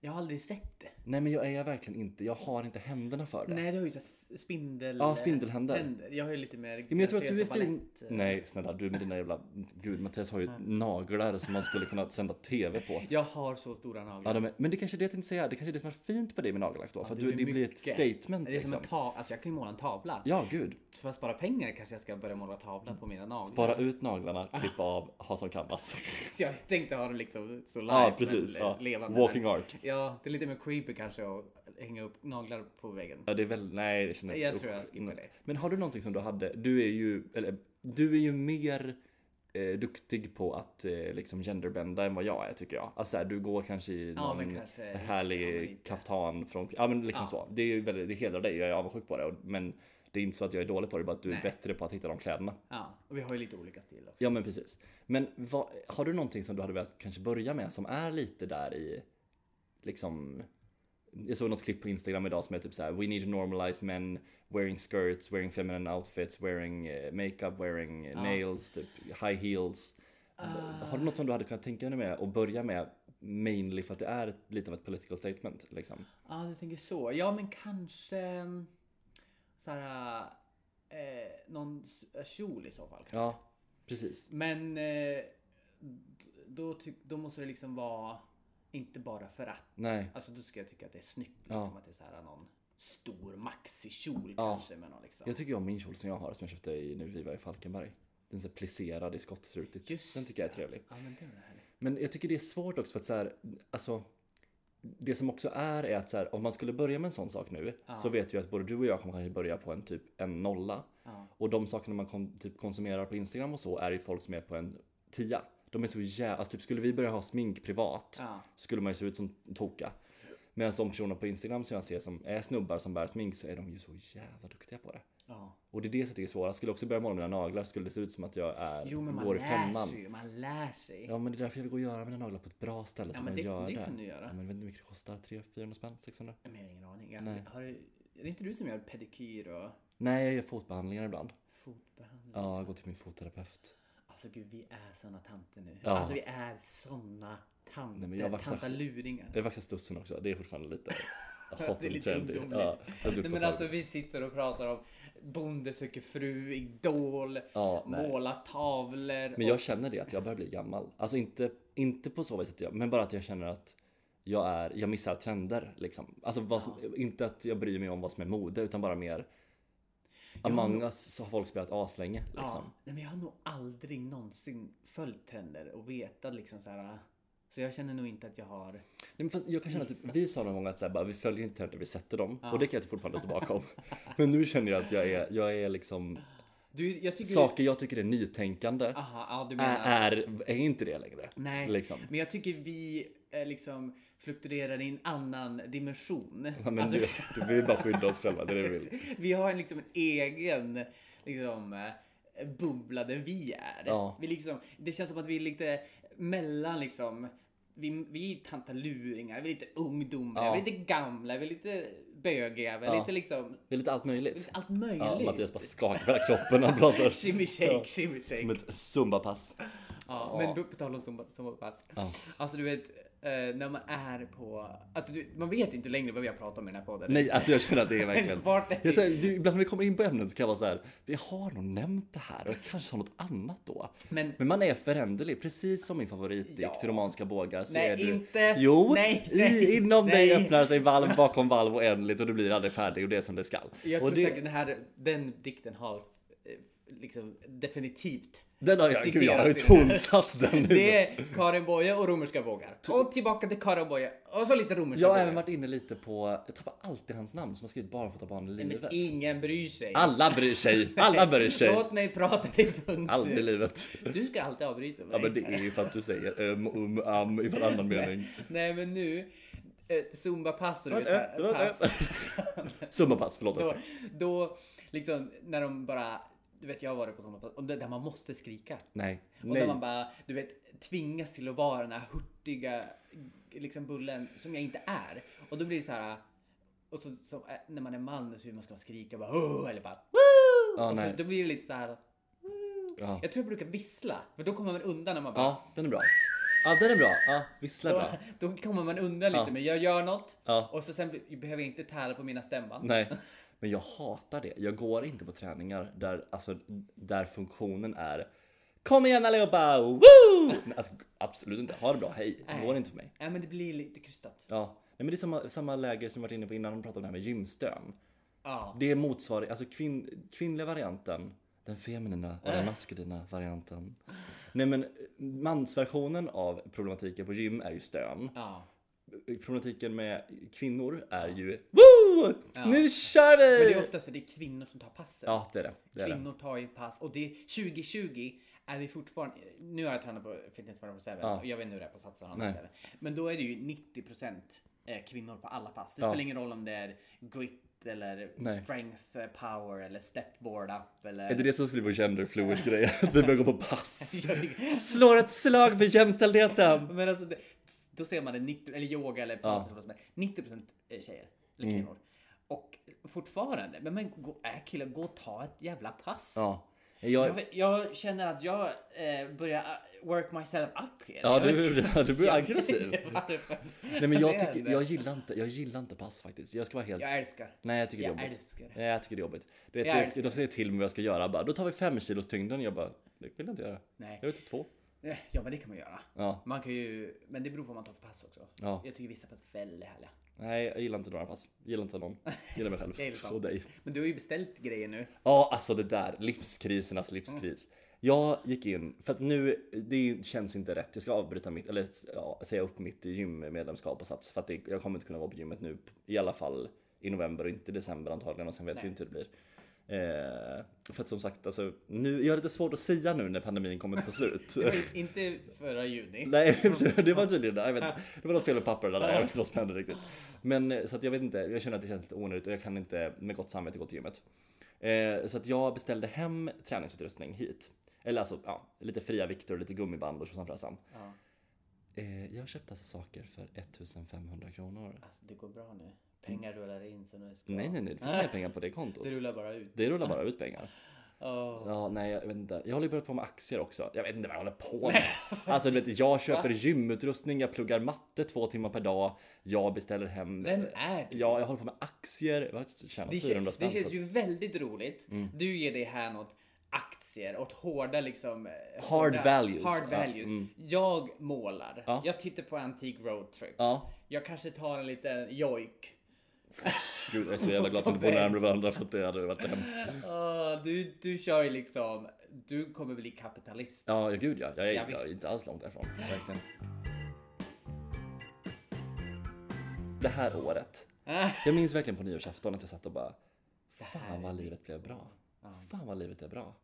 [SPEAKER 1] Jag har aldrig sett det.
[SPEAKER 2] Nej men jag är verkligen inte, jag har inte händerna för det.
[SPEAKER 1] Nej, du har ju så här spindel...
[SPEAKER 2] Ja, spindelhänder.
[SPEAKER 1] händer. Jag har ju lite mer...
[SPEAKER 2] Ja, men jag tror att du är fin.
[SPEAKER 1] eh.
[SPEAKER 2] Nej snälla du med dina jävla, gud Mattias har ju naglar som man skulle kunna sända TV på.
[SPEAKER 1] Jag har så stora
[SPEAKER 2] Ja,
[SPEAKER 1] naglar.
[SPEAKER 2] de är, men det kanske är det jag tänkte säga, det kanske är det som är fint på dig med nagellack då. för att du, det blir ett
[SPEAKER 1] mycket.
[SPEAKER 2] statement
[SPEAKER 1] Det är som
[SPEAKER 2] liksom.
[SPEAKER 1] en tavla. Alltså jag kan ju måla en tavla.
[SPEAKER 2] Ja gud.
[SPEAKER 1] För att spara pengar kanske jag ska börja måla tavlan på mina naglar.
[SPEAKER 2] Bara ut naglarna, klippa av, ha som canvas.
[SPEAKER 1] Så jag tänkte ha dem liksom så live.
[SPEAKER 2] Ja
[SPEAKER 1] men
[SPEAKER 2] precis.
[SPEAKER 1] le-
[SPEAKER 2] Ja.
[SPEAKER 1] Levande.
[SPEAKER 2] Walking art.
[SPEAKER 1] Ja, det är lite mer creepy kanske att hänga upp naglar på väggen.
[SPEAKER 2] Ja, det är väl, nej det känner
[SPEAKER 1] Jag
[SPEAKER 2] usch,
[SPEAKER 1] tror jag skippar
[SPEAKER 2] nej.
[SPEAKER 1] det.
[SPEAKER 2] Mm. Men har du någonting som du hade, du är ju, eller du är ju mer eh, duktig på att eh, liksom genderbända än vad jag är tycker jag. Alltså så här, du går kanske i
[SPEAKER 1] Ja,
[SPEAKER 2] någon
[SPEAKER 1] men kanske- ja, men
[SPEAKER 2] härlig
[SPEAKER 1] lite.
[SPEAKER 2] kaftan från, ja men liksom så. Det är ju väldigt, det hedrar dig, jag är avundsjuk på det. och- Men det är inte så att jag är dålig på det, bara att du
[SPEAKER 1] Nej.
[SPEAKER 2] är bättre på att hitta de kläderna.
[SPEAKER 1] Ja, och vi har ju lite olika stil också.
[SPEAKER 2] Ja men precis. Men vad, har du någonting som du hade velat kanske börja med som är lite där i liksom jag såg något klipp på Instagram idag som är typ så här: We need to normalize men wearing skirts, wearing feminine outfits, wearing eh, makeup, wearing eh, nails, typ high heels.
[SPEAKER 1] Ah.
[SPEAKER 2] Har du något som du hade kunnat tänka dig med och börja med mainly för att det är ett, lite av ett political statement liksom?
[SPEAKER 1] Ja, du tänker så. Ja, men kanske mm, så här eh, någon s- kjol i så fall. kanske.
[SPEAKER 2] Ja, precis.
[SPEAKER 1] Men eh, d- då, ty- då måste det liksom vara inte bara för att.
[SPEAKER 2] Nej.
[SPEAKER 1] Alltså då ska jag tycka att det är snyggt. Liksom, Att det är så här någon stor maxikjol kanske. Med någon, liksom.
[SPEAKER 2] Jag tycker om min kjol som jag har som jag köpte i, när vi var i Falkenberg. Den är så här plisserad i skottfrutigt.
[SPEAKER 1] Just
[SPEAKER 2] den tycker jag är trevlig.
[SPEAKER 1] Ja men det är härligt.
[SPEAKER 2] Men jag tycker det är svårt också för att så här, alltså det som också är är att så här, om man skulle börja med en sån sak nu så vet jag att både du och jag kommer kanske börja på en typ en nolla. Och de sakerna man kon- typ konsumerar på Instagram och så är ju folk som är på en tia. De är så jävla, alltså typ skulle vi börja ha smink privat
[SPEAKER 1] Ja.
[SPEAKER 2] skulle man ju se ut som toka. Medan de personer på Instagram som jag ser som är snubbar som bär smink så är de ju så jävla duktiga på det.
[SPEAKER 1] Ja.
[SPEAKER 2] Och det är det som jag tycker är svårast. Skulle jag också börja måla mina naglar skulle det se ut som att jag är,
[SPEAKER 1] Jo men man
[SPEAKER 2] går i
[SPEAKER 1] lär
[SPEAKER 2] femman.
[SPEAKER 1] sig ju. Man lär sig.
[SPEAKER 2] Ja men det är därför jag vill gå och göra mina naglar på ett bra ställe. Ja
[SPEAKER 1] men det-
[SPEAKER 2] gör
[SPEAKER 1] det kan du göra.
[SPEAKER 2] Ja, men jag vet inte hur mycket det kostar? 300-400 spänn? 600?
[SPEAKER 1] Men jag har ingen aning. Jag, har, är det inte du som gör pedikyr och
[SPEAKER 2] Nej jag gör fotbehandlingar ibland.
[SPEAKER 1] fotbehandling?
[SPEAKER 2] Ja jag går till min fotterapeut.
[SPEAKER 1] Alltså gud vi är såna tanter nu.
[SPEAKER 2] Ja.
[SPEAKER 1] Alltså vi är såna tanter.
[SPEAKER 2] men jag vaxar-
[SPEAKER 1] Tantaluringar.
[SPEAKER 2] Jag vaxar stussen också. Det är fortfarande lite hot
[SPEAKER 1] Det är
[SPEAKER 2] and
[SPEAKER 1] lite
[SPEAKER 2] trendy.
[SPEAKER 1] ungdomligt.
[SPEAKER 2] Ja, jag
[SPEAKER 1] Nej, men alltså vi sitter och pratar om Bonde söker fru, Idol,
[SPEAKER 2] Ja, nej.
[SPEAKER 1] måla tavlor.
[SPEAKER 2] men jag känner det att jag börjar bli gammal. Alltså inte, inte på så vis att jag, men bara att jag känner att jag, är, jag missar trender liksom. Alltså vad som, inte att jag bryr mig om vad som är mode utan bara mer Among us så har folk spelat aslänge
[SPEAKER 1] och,
[SPEAKER 2] liksom.
[SPEAKER 1] ja, nej, men jag har nog aldrig någonsin följt trender och vetat liksom så här. Så jag känner nog inte att jag har.
[SPEAKER 2] Nej, men fast jag kan känna att typ, vi sa någon gång att så här, bara, vi följer inte trender, vi sätter dem. Och det kan jag typ fortfarande stå bakom. Men nu känner jag att jag är, jag är liksom,
[SPEAKER 1] Du, jag tycker
[SPEAKER 2] saker jag tycker är nytänkande
[SPEAKER 1] Aha, ja, Ah, du menar.
[SPEAKER 2] är, är, är inte det längre.
[SPEAKER 1] Nej,
[SPEAKER 2] Liksom.
[SPEAKER 1] men jag tycker vi eh, liksom fluktuerar i en annan dimension.
[SPEAKER 2] Ja, Men
[SPEAKER 1] alltså,
[SPEAKER 2] du, du vill bara skydda oss själva, det är det du vill.
[SPEAKER 1] vi har en, liksom, en egen liksom, eh, bubbla där vi är.
[SPEAKER 2] Ja.
[SPEAKER 1] Vi liksom, det känns som att vi är lite mellan liksom vi, vi är tantaluringar, vi är lite ungdomar,
[SPEAKER 2] Ja.
[SPEAKER 1] vi är lite gamla, vi är lite bögiga, vi är
[SPEAKER 2] Ja.
[SPEAKER 1] lite liksom
[SPEAKER 2] Det är lite allt möjligt.
[SPEAKER 1] allt
[SPEAKER 2] Ja,
[SPEAKER 1] möjligt.
[SPEAKER 2] Mattias bara skakar på hela kroppen när han pratar.
[SPEAKER 1] Shimmy shake,
[SPEAKER 2] Ja.
[SPEAKER 1] shimmy shake.
[SPEAKER 2] Som ett zumbapass.
[SPEAKER 1] Ja, men då på tal om som, som pass.
[SPEAKER 2] Ja.
[SPEAKER 1] Alltså du vet, eh, när man är på... Alltså du, man vet ju inte längre vad vi har pratat om i den här podden.
[SPEAKER 2] Nej, alltså jag känner att det är verkligen...
[SPEAKER 1] Vart är
[SPEAKER 2] Jag säger, du, ibland när vi kommer in på ämnet så kan jag vara så här. Vi har nog nämnt det här och jag kanske har något annat då.
[SPEAKER 1] Men-
[SPEAKER 2] man är föränderlig, precis som min favoritdikt,
[SPEAKER 1] Ja.
[SPEAKER 2] Romanska bågar. Så
[SPEAKER 1] Nej,
[SPEAKER 2] är du,
[SPEAKER 1] inte.
[SPEAKER 2] Jo,
[SPEAKER 1] Nej,
[SPEAKER 2] i-
[SPEAKER 1] nej,
[SPEAKER 2] inom dig
[SPEAKER 1] nej.
[SPEAKER 2] öppnar sig valv bakom valv oändligt och du blir aldrig färdig och det är som det skall.
[SPEAKER 1] Jag
[SPEAKER 2] och
[SPEAKER 1] tror
[SPEAKER 2] det,
[SPEAKER 1] säkert den här, den dikten har eh, liksom definitivt
[SPEAKER 2] Den har jag, gud, jag har ju
[SPEAKER 1] citerats i den här.
[SPEAKER 2] tonsatt den nu.
[SPEAKER 1] Det är Karin Boye och romerska vågar. Och tillbaka till Karin Boye och så lite romerska
[SPEAKER 2] Jag har
[SPEAKER 1] vågar.
[SPEAKER 2] även varit inne lite på, jag tappar alltid hans namn som har skrivit Barfota barn i
[SPEAKER 1] Men
[SPEAKER 2] livet.
[SPEAKER 1] ingen bryr sig.
[SPEAKER 2] Alla bryr sig, alla bryr sig.
[SPEAKER 1] Låt mig prata till punkt.
[SPEAKER 2] Aldrig i livet.
[SPEAKER 1] Du ska alltid avbryta mig.
[SPEAKER 2] Ja men det är ju för att du säger um, um, am i varannan mening.
[SPEAKER 1] Nej men nu, eh, Zumba-pass och du vet
[SPEAKER 2] Vänta,
[SPEAKER 1] såhär,
[SPEAKER 2] vänta. Summapass, förlåt.
[SPEAKER 1] då,
[SPEAKER 2] Oskar.
[SPEAKER 1] då liksom när de bara, du vet jag har varit på sådana pass, och där där man måste skrika.
[SPEAKER 2] Nej.
[SPEAKER 1] Och där
[SPEAKER 2] Nej.
[SPEAKER 1] man bara, du vet, tvingas till att vara den här hurtiga liksom bullen som jag inte är. Och då blir det så här. Och så, så eh, när man är man så hur man ska skrika bara "Åh!" eller bara "Woo!"
[SPEAKER 2] Ja,
[SPEAKER 1] och så,
[SPEAKER 2] Ah, nej.
[SPEAKER 1] Då blir det lite så här. "Woo!"
[SPEAKER 2] Ja.
[SPEAKER 1] Jag tror jag brukar vissla, för då kommer man undan när man bara
[SPEAKER 2] Ja, den är bra. Ja, den är bra. Ja, vissla
[SPEAKER 1] då,
[SPEAKER 2] bra.
[SPEAKER 1] då kommer man undan lite
[SPEAKER 2] Ja.
[SPEAKER 1] men jag gör något
[SPEAKER 2] Ja.
[SPEAKER 1] och så sen blir- behöver jag inte tära på mina stämband.
[SPEAKER 2] Nej. Men jag hatar det. Jag går inte på träningar där, alltså, där funktionen är Kom igen allihopa! Woo! Nej, Alltså, absolut inte. Ha det bra, hej. Det går inte för mig.
[SPEAKER 1] Nej men det blir lite krystat.
[SPEAKER 2] Ja, Nej, men det är samma, samma läger som vi varit inne på innan de pratade om det här med gymstön.
[SPEAKER 1] Ja.
[SPEAKER 2] Det är motsvarig, alltså kvin, kvinnliga varianten, den feminina och
[SPEAKER 1] Eh.
[SPEAKER 2] den maskulina varianten. Nej men mansversionen av problematiken på gym är ju stön.
[SPEAKER 1] Ja.
[SPEAKER 2] Problematiken med kvinnor är ju Woo! Nu kör
[SPEAKER 1] Men det
[SPEAKER 2] vi!
[SPEAKER 1] är oftast för det är kvinnor som tar passen.
[SPEAKER 2] Ja det är det. det, är det.
[SPEAKER 1] Kvinnor tar ju pass och det 2020 är vi fortfarande. Nu har jag tränat på Fitness 24
[SPEAKER 2] Ja.
[SPEAKER 1] och jag vet inte hur det är på Sats och andra
[SPEAKER 2] Nej.
[SPEAKER 1] ställen. Men då är det ju 90% eh, kvinnor på alla pass. Det
[SPEAKER 2] Ja.
[SPEAKER 1] spelar ingen roll om det är grit eller
[SPEAKER 2] Nej.
[SPEAKER 1] strength eh, power eller stepboard up eller...
[SPEAKER 2] Är det det som skulle vara gender fluid grej? Att vi börjar gå på pass?
[SPEAKER 1] Jag tycker-
[SPEAKER 2] Slår ett slag för jämställdheten!
[SPEAKER 1] Men alltså, det, då ser man det 90, eller yoga eller pilates eller vad som helst. 90% är tjejer
[SPEAKER 2] Mm.
[SPEAKER 1] eller kvinnor. Och fortfarande, men, men gå, är killar, gå och ta ett jävla pass.
[SPEAKER 2] Ja. Jag-
[SPEAKER 1] Jag, jag känner att jag eh, börjar eh, work myself up here.
[SPEAKER 2] Ja,
[SPEAKER 1] Jag
[SPEAKER 2] du,
[SPEAKER 1] vet
[SPEAKER 2] du,
[SPEAKER 1] inte-
[SPEAKER 2] du blir
[SPEAKER 1] jag vet
[SPEAKER 2] aggressiv.
[SPEAKER 1] inte varför.
[SPEAKER 2] Nej men jag,
[SPEAKER 1] Det
[SPEAKER 2] tycker,
[SPEAKER 1] händer.
[SPEAKER 2] jag, gillar inte, jag gillar inte pass faktiskt. Jag ska vara helt...
[SPEAKER 1] Jag älskar.
[SPEAKER 2] Nej jag tycker det är
[SPEAKER 1] jag
[SPEAKER 2] jobbigt.
[SPEAKER 1] älskar det.
[SPEAKER 2] Nej jag tycker det är jobbigt. Du vet,
[SPEAKER 1] Jag
[SPEAKER 2] jag
[SPEAKER 1] älskar
[SPEAKER 2] de säger till mig vad jag ska göra bara. Då tar vi fem kilos tyngden. Jag bara, det vill jag inte göra.
[SPEAKER 1] Nej.
[SPEAKER 2] Jag vill inte två.
[SPEAKER 1] Ja, men det kan man göra.
[SPEAKER 2] Ja.
[SPEAKER 1] Man kan ju, men det beror på vad man tar för pass också.
[SPEAKER 2] Ja.
[SPEAKER 1] Jag tycker vissa pass är väldigt härliga.
[SPEAKER 2] Nej jag gillar inte några pass. Gillar inte någon. Gillar mig
[SPEAKER 1] Jag gillar
[SPEAKER 2] själv.
[SPEAKER 1] dem.
[SPEAKER 2] Och dig.
[SPEAKER 1] Men du har ju beställt grejer nu.
[SPEAKER 2] Ja, alltså det där livskrisernas livskris. Jag gick in för att nu det känns inte rätt. Jag ska avbryta mitt eller ja, säga upp mitt gymmedlemskap på Sats för att det, jag kommer inte kunna vara på gymmet nu i alla fall i november och inte i december antagligen och sen vet vi inte hur det blir. Eh, för att som sagt alltså nu. Jag har lite svårt att säga nu när pandemin kommer ta slut.
[SPEAKER 1] Det var ju inte förra juni.
[SPEAKER 2] Nej, det var tydligen jag vet, inte. Det var något fel med papper där. Jag vet inte vad som hände riktigt. Men eh, så att jag vet inte. Jag känner att det känns lite onödigt och jag kan inte med gott samvete gå till gymmet. Eh, så att jag beställde hem träningsutrustning hit. Eller alltså, ja, lite fria vikter och lite gummiband och tjosan fräsan.
[SPEAKER 1] Ja,
[SPEAKER 2] Eh, jag köpte alltså saker för 1500 kronor.
[SPEAKER 1] alltså det går bra nu. Pengar rullar in så nu ska...
[SPEAKER 2] Nej, nej, nej. Det finns inga pengar på det kontot.
[SPEAKER 1] Det rullar bara ut.
[SPEAKER 2] Det rullar bara ut pengar.
[SPEAKER 1] Åh.
[SPEAKER 2] Ja, nej, jag vet inte. Jag håller ju börjat på med aktier också. Jag vet inte vad jag håller på med. Alltså, du vet, jag köper gymutrustning, jag pluggar matte två timmar per dag. Jag beställer hem.
[SPEAKER 1] Vem är du?
[SPEAKER 2] Ja, jag håller på med aktier. Jag har tjänat
[SPEAKER 1] Det, kän,
[SPEAKER 2] 400 spänn.
[SPEAKER 1] det
[SPEAKER 2] så
[SPEAKER 1] känns
[SPEAKER 2] att-
[SPEAKER 1] ju väldigt roligt.
[SPEAKER 2] Mm.
[SPEAKER 1] Du ger det här något aktier åt hårda liksom... eh,
[SPEAKER 2] Hard values.
[SPEAKER 1] Hard
[SPEAKER 2] Ja,
[SPEAKER 1] values.
[SPEAKER 2] mm.
[SPEAKER 1] Jag målar.
[SPEAKER 2] Ja.
[SPEAKER 1] Jag tittar på antik roadtrip.
[SPEAKER 2] Ja,
[SPEAKER 1] Jag kanske tar en liten jojk.
[SPEAKER 2] gud, jag är så jävla glad att vi inte bor närmare varandra för att det hade varit hemskt.
[SPEAKER 1] Åh, Ah, du, du kör ju liksom... Du kommer bli kapitalist.
[SPEAKER 2] Ja, ja, gud ja. Jag är,
[SPEAKER 1] Ja,
[SPEAKER 2] jag är
[SPEAKER 1] visst.
[SPEAKER 2] inte alls långt därifrån. Verkligen. Det här året. Jag minns verkligen på nyårsafton att jag satt och bara Fan vad livet blev bra. Fan vad livet är bra.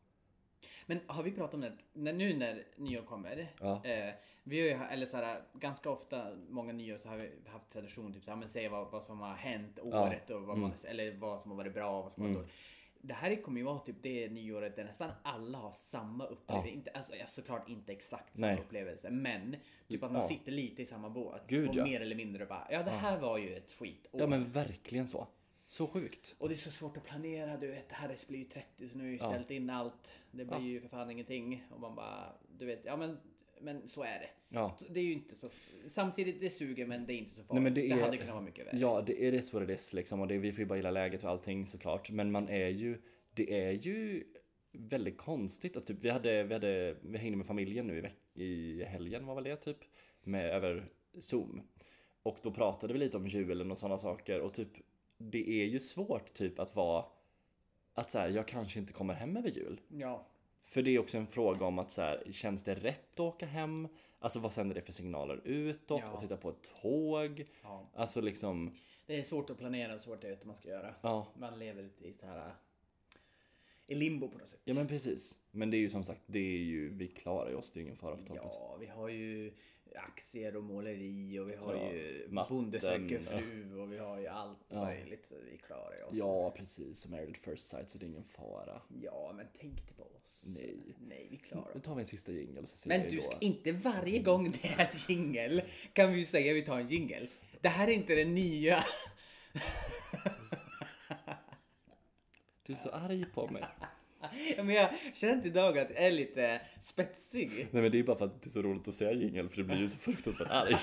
[SPEAKER 1] Men har vi pratat om det? När, nu när nyår kommer.
[SPEAKER 2] Ja.
[SPEAKER 1] Eh, vi har ju, ha- eller så här, ganska ofta, många nyår så har vi haft tradition typ så här, men säga vad, vad som har hänt året och vad man,
[SPEAKER 2] Mm.
[SPEAKER 1] eller vad som har varit bra och vad som har varit dåligt. Det här kommer ju vara typ det nyåret där nästan alla har samma upplevelse. Inte, alltså, ja, såklart inte exakt samma
[SPEAKER 2] Nej.
[SPEAKER 1] upplevelse, men typ att man
[SPEAKER 2] Ja.
[SPEAKER 1] sitter lite i samma båt.
[SPEAKER 2] Gud,
[SPEAKER 1] och
[SPEAKER 2] ja.
[SPEAKER 1] mer eller mindre bara, ja det här var ju ett skitår.
[SPEAKER 2] Ja men verkligen så. Så sjukt.
[SPEAKER 1] Och det är så svårt att planera, du vet, Harris blir ju 30 så nu har jag ju ställt in allt. Det blir ju för fan ingenting. Och man bara, du vet, ja men, men så är det.
[SPEAKER 2] Ja.
[SPEAKER 1] Så Det är ju inte så, samtidigt det suger men det är inte så farligt.
[SPEAKER 2] Nej, men det
[SPEAKER 1] det,
[SPEAKER 2] är-
[SPEAKER 1] hade kunnat vara mycket värre.
[SPEAKER 2] Ja, det är det så det är liksom och det, vi får ju bara gilla läget och allting såklart. Men man är ju, det är ju väldigt konstigt. Alltså, typ, vi, hade, vi, hade, vi hängde med familjen nu i, veck- i helgen var väl det typ. Med, över Zoom. Och då pratade vi lite om julen och sådana saker och typ det är ju svårt typ att vara att så här, jag kanske inte kommer hem över jul.
[SPEAKER 1] Ja.
[SPEAKER 2] För det är också en fråga om att så här, känns det rätt att åka hem? Alltså vad sänder det för signaler utåt?
[SPEAKER 1] Ja.
[SPEAKER 2] Att sitta på ett tåg?
[SPEAKER 1] ja.
[SPEAKER 2] Alltså liksom,
[SPEAKER 1] Det är svårt att planera och svårt att veta vad man ska göra.
[SPEAKER 2] ja.
[SPEAKER 1] Man lever lite i så här äh, i limbo på något sätt.
[SPEAKER 2] Ja men precis. Men det är ju som sagt, det är ju, vi klarar ju oss, det är ingen fara på torpet.
[SPEAKER 1] Ja, alltså. vi har ju aktier och måleri och vi har
[SPEAKER 2] Ja,
[SPEAKER 1] ju
[SPEAKER 2] matten,
[SPEAKER 1] Bonde söker fru och vi har ju allt
[SPEAKER 2] Ja.
[SPEAKER 1] möjligt. Så vi klarar oss.
[SPEAKER 2] Ja precis, som Married at First Sight så det är ingen fara.
[SPEAKER 1] Ja, men tänk inte på oss.
[SPEAKER 2] Nej.
[SPEAKER 1] Nej, vi klarar
[SPEAKER 2] Nu
[SPEAKER 1] oss.
[SPEAKER 2] tar vi en sista jingel och så ser
[SPEAKER 1] Men
[SPEAKER 2] vi
[SPEAKER 1] du
[SPEAKER 2] då.
[SPEAKER 1] ska inte varje gång det är jingel kan vi ju säga att vi tar en jingel. Det här är inte den nya.
[SPEAKER 2] Du är så arg på mig.
[SPEAKER 1] Men jag har känt idag att jag är lite spetsig.
[SPEAKER 2] Nej men det är bara för att det är så roligt att säga jingel för det blir ju så fruktansvärt arg.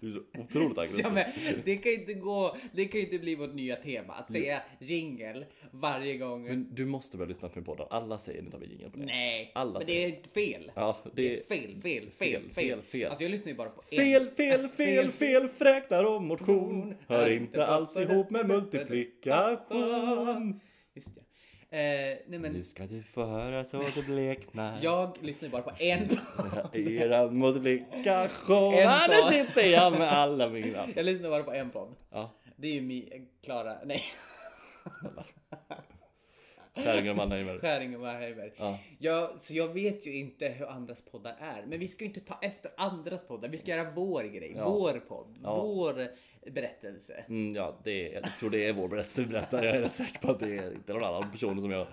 [SPEAKER 2] Du är så otroligt aggressiv.
[SPEAKER 1] Ja, men det kan ju inte gå. Det kan ju inte bli vårt nya tema att säga jingel varje gång.
[SPEAKER 2] Men du måste väl lyssna på min podd? Alla säger nu tar vi jingel på det.
[SPEAKER 1] Nej,
[SPEAKER 2] alla
[SPEAKER 1] men det är fel.
[SPEAKER 2] Ja,
[SPEAKER 1] Det
[SPEAKER 2] det
[SPEAKER 1] är fel, fel, fel,
[SPEAKER 2] fel,
[SPEAKER 1] fel.
[SPEAKER 2] fel, fel.
[SPEAKER 1] Alltså jag lyssnar ju bara på en.
[SPEAKER 2] Fel,
[SPEAKER 1] Äh,
[SPEAKER 2] fel, fel, fel fräknar om motion. Hör inte alls ihop med multiplikation.
[SPEAKER 1] Just det. Eh, nej men
[SPEAKER 2] Nu ska du få höra så det bleknar.
[SPEAKER 1] jag lyssnar ju bara på en.
[SPEAKER 2] Eran multiplikation.
[SPEAKER 1] En
[SPEAKER 2] Ja,
[SPEAKER 1] dag.
[SPEAKER 2] nu sitter jag med alla mina.
[SPEAKER 1] Jag lyssnar bara på en podd.
[SPEAKER 2] Ja,
[SPEAKER 1] Det är ju Mi- Klara, nej,
[SPEAKER 2] Käringen och Mannheimer.
[SPEAKER 1] Skäring och Marheimer.
[SPEAKER 2] Ja.
[SPEAKER 1] Jag, så jag vet ju inte hur andras poddar är. Men vi ska ju inte ta efter andras poddar. Vi ska göra vår grej,
[SPEAKER 2] Ja.
[SPEAKER 1] vår podd,
[SPEAKER 2] Ja.
[SPEAKER 1] vår berättelse.
[SPEAKER 2] Mm, ja, det är, jag tror det är vår berättelse du berättar. Jag är rätt säker på att det är inte någon annan person som jag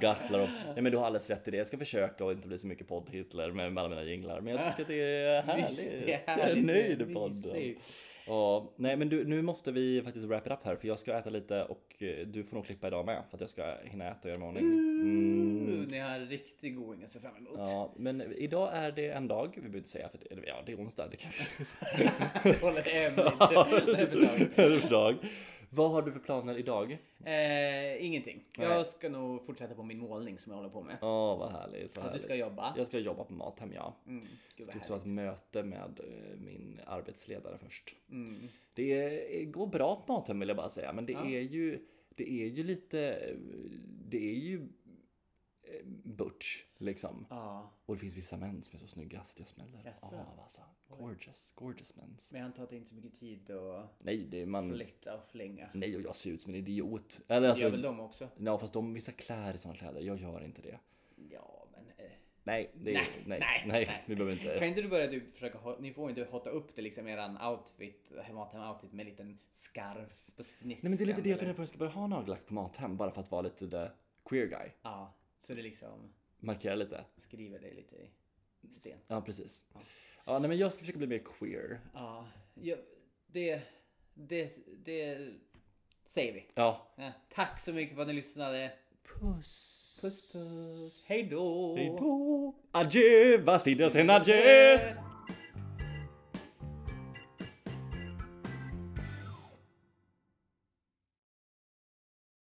[SPEAKER 2] gafflar om. Nej men du har alldeles rätt i det. Jag ska försöka och inte bli så mycket podd-Hitler med, med alla mina jinglar. Men jag tycker att det är härligt.
[SPEAKER 1] Visst, det är
[SPEAKER 2] Jag
[SPEAKER 1] härligt.
[SPEAKER 2] är
[SPEAKER 1] Det
[SPEAKER 2] nöjd
[SPEAKER 1] är
[SPEAKER 2] i podden.
[SPEAKER 1] mysigt.
[SPEAKER 2] Ja, nej men du, nu måste vi faktiskt wrap it up här för jag ska äta lite och eh, du får nog klippa idag med för att jag ska hinna äta och göra mig i ordning.
[SPEAKER 1] Mm. Ni har en riktig going att se fram emot.
[SPEAKER 2] Ja, men idag är det en dag, vi behöver inte säga för det, eller ja, det är onsdag, det kan vi
[SPEAKER 1] Håller det hemligt. Det är för dagen.
[SPEAKER 2] för dag. Vad har du för planer idag?
[SPEAKER 1] eh, ingenting.
[SPEAKER 2] Nej.
[SPEAKER 1] Jag ska nog fortsätta på min målning som jag håller på med.
[SPEAKER 2] Åh, vad härligt. Vad
[SPEAKER 1] Ja, du
[SPEAKER 2] härligt.
[SPEAKER 1] ska jobba.
[SPEAKER 2] Jag ska jobba på Mathem, ja.
[SPEAKER 1] Mm,
[SPEAKER 2] Jag
[SPEAKER 1] gud vad
[SPEAKER 2] ska också ha ett
[SPEAKER 1] härligt.
[SPEAKER 2] möte med eh, min arbetsledare först.
[SPEAKER 1] Mm.
[SPEAKER 2] Det är- eh, går bra på Mathem vill jag bara säga, men det
[SPEAKER 1] Ja.
[SPEAKER 2] är ju, det är ju lite, det är ju eh, butch liksom.
[SPEAKER 1] Ja,
[SPEAKER 2] Och det finns vissa män som är så snygga så det smäller
[SPEAKER 1] Jaså?
[SPEAKER 2] av alltså. Gorgeous, gorgeous män.
[SPEAKER 1] men jag antar att det är inte så mycket tid att
[SPEAKER 2] Nej, det är man,
[SPEAKER 1] flytta och flänga.
[SPEAKER 2] nej och jag ser ut som en idiot. Eller
[SPEAKER 1] Gör
[SPEAKER 2] alltså,
[SPEAKER 1] väl de också?
[SPEAKER 2] ja fast de, vissa klär i såna kläder, jag gör inte det.
[SPEAKER 1] Ja, men... Eh.
[SPEAKER 2] Nej, det är, nej,
[SPEAKER 1] Nej,
[SPEAKER 2] nej,
[SPEAKER 1] nej,
[SPEAKER 2] vi behöver inte.
[SPEAKER 1] Kan inte du börja typ försöka, ho- ni får inte hotta upp det liksom eran outfit, Mathem outfit med en liten scarf på sniskan.
[SPEAKER 2] Nej men det är lite det
[SPEAKER 1] eller-
[SPEAKER 2] jag funderar på, jag ska börja ha nagellack på Mathem bara för att vara lite the queer guy.
[SPEAKER 1] Ja, så det liksom
[SPEAKER 2] Markera lite.
[SPEAKER 1] skriver dig lite i sten.
[SPEAKER 2] Ja, precis. Ja, nej men jag ska försöka bli mer queer.
[SPEAKER 1] Ja, ja det, det, det säger vi.
[SPEAKER 2] Ja.
[SPEAKER 1] Ja, tack så mycket för att ni lyssnade.
[SPEAKER 2] Puss.
[SPEAKER 1] Puss puss, hej då!
[SPEAKER 2] Hej då. Adjö, vad fint jag sen adjö.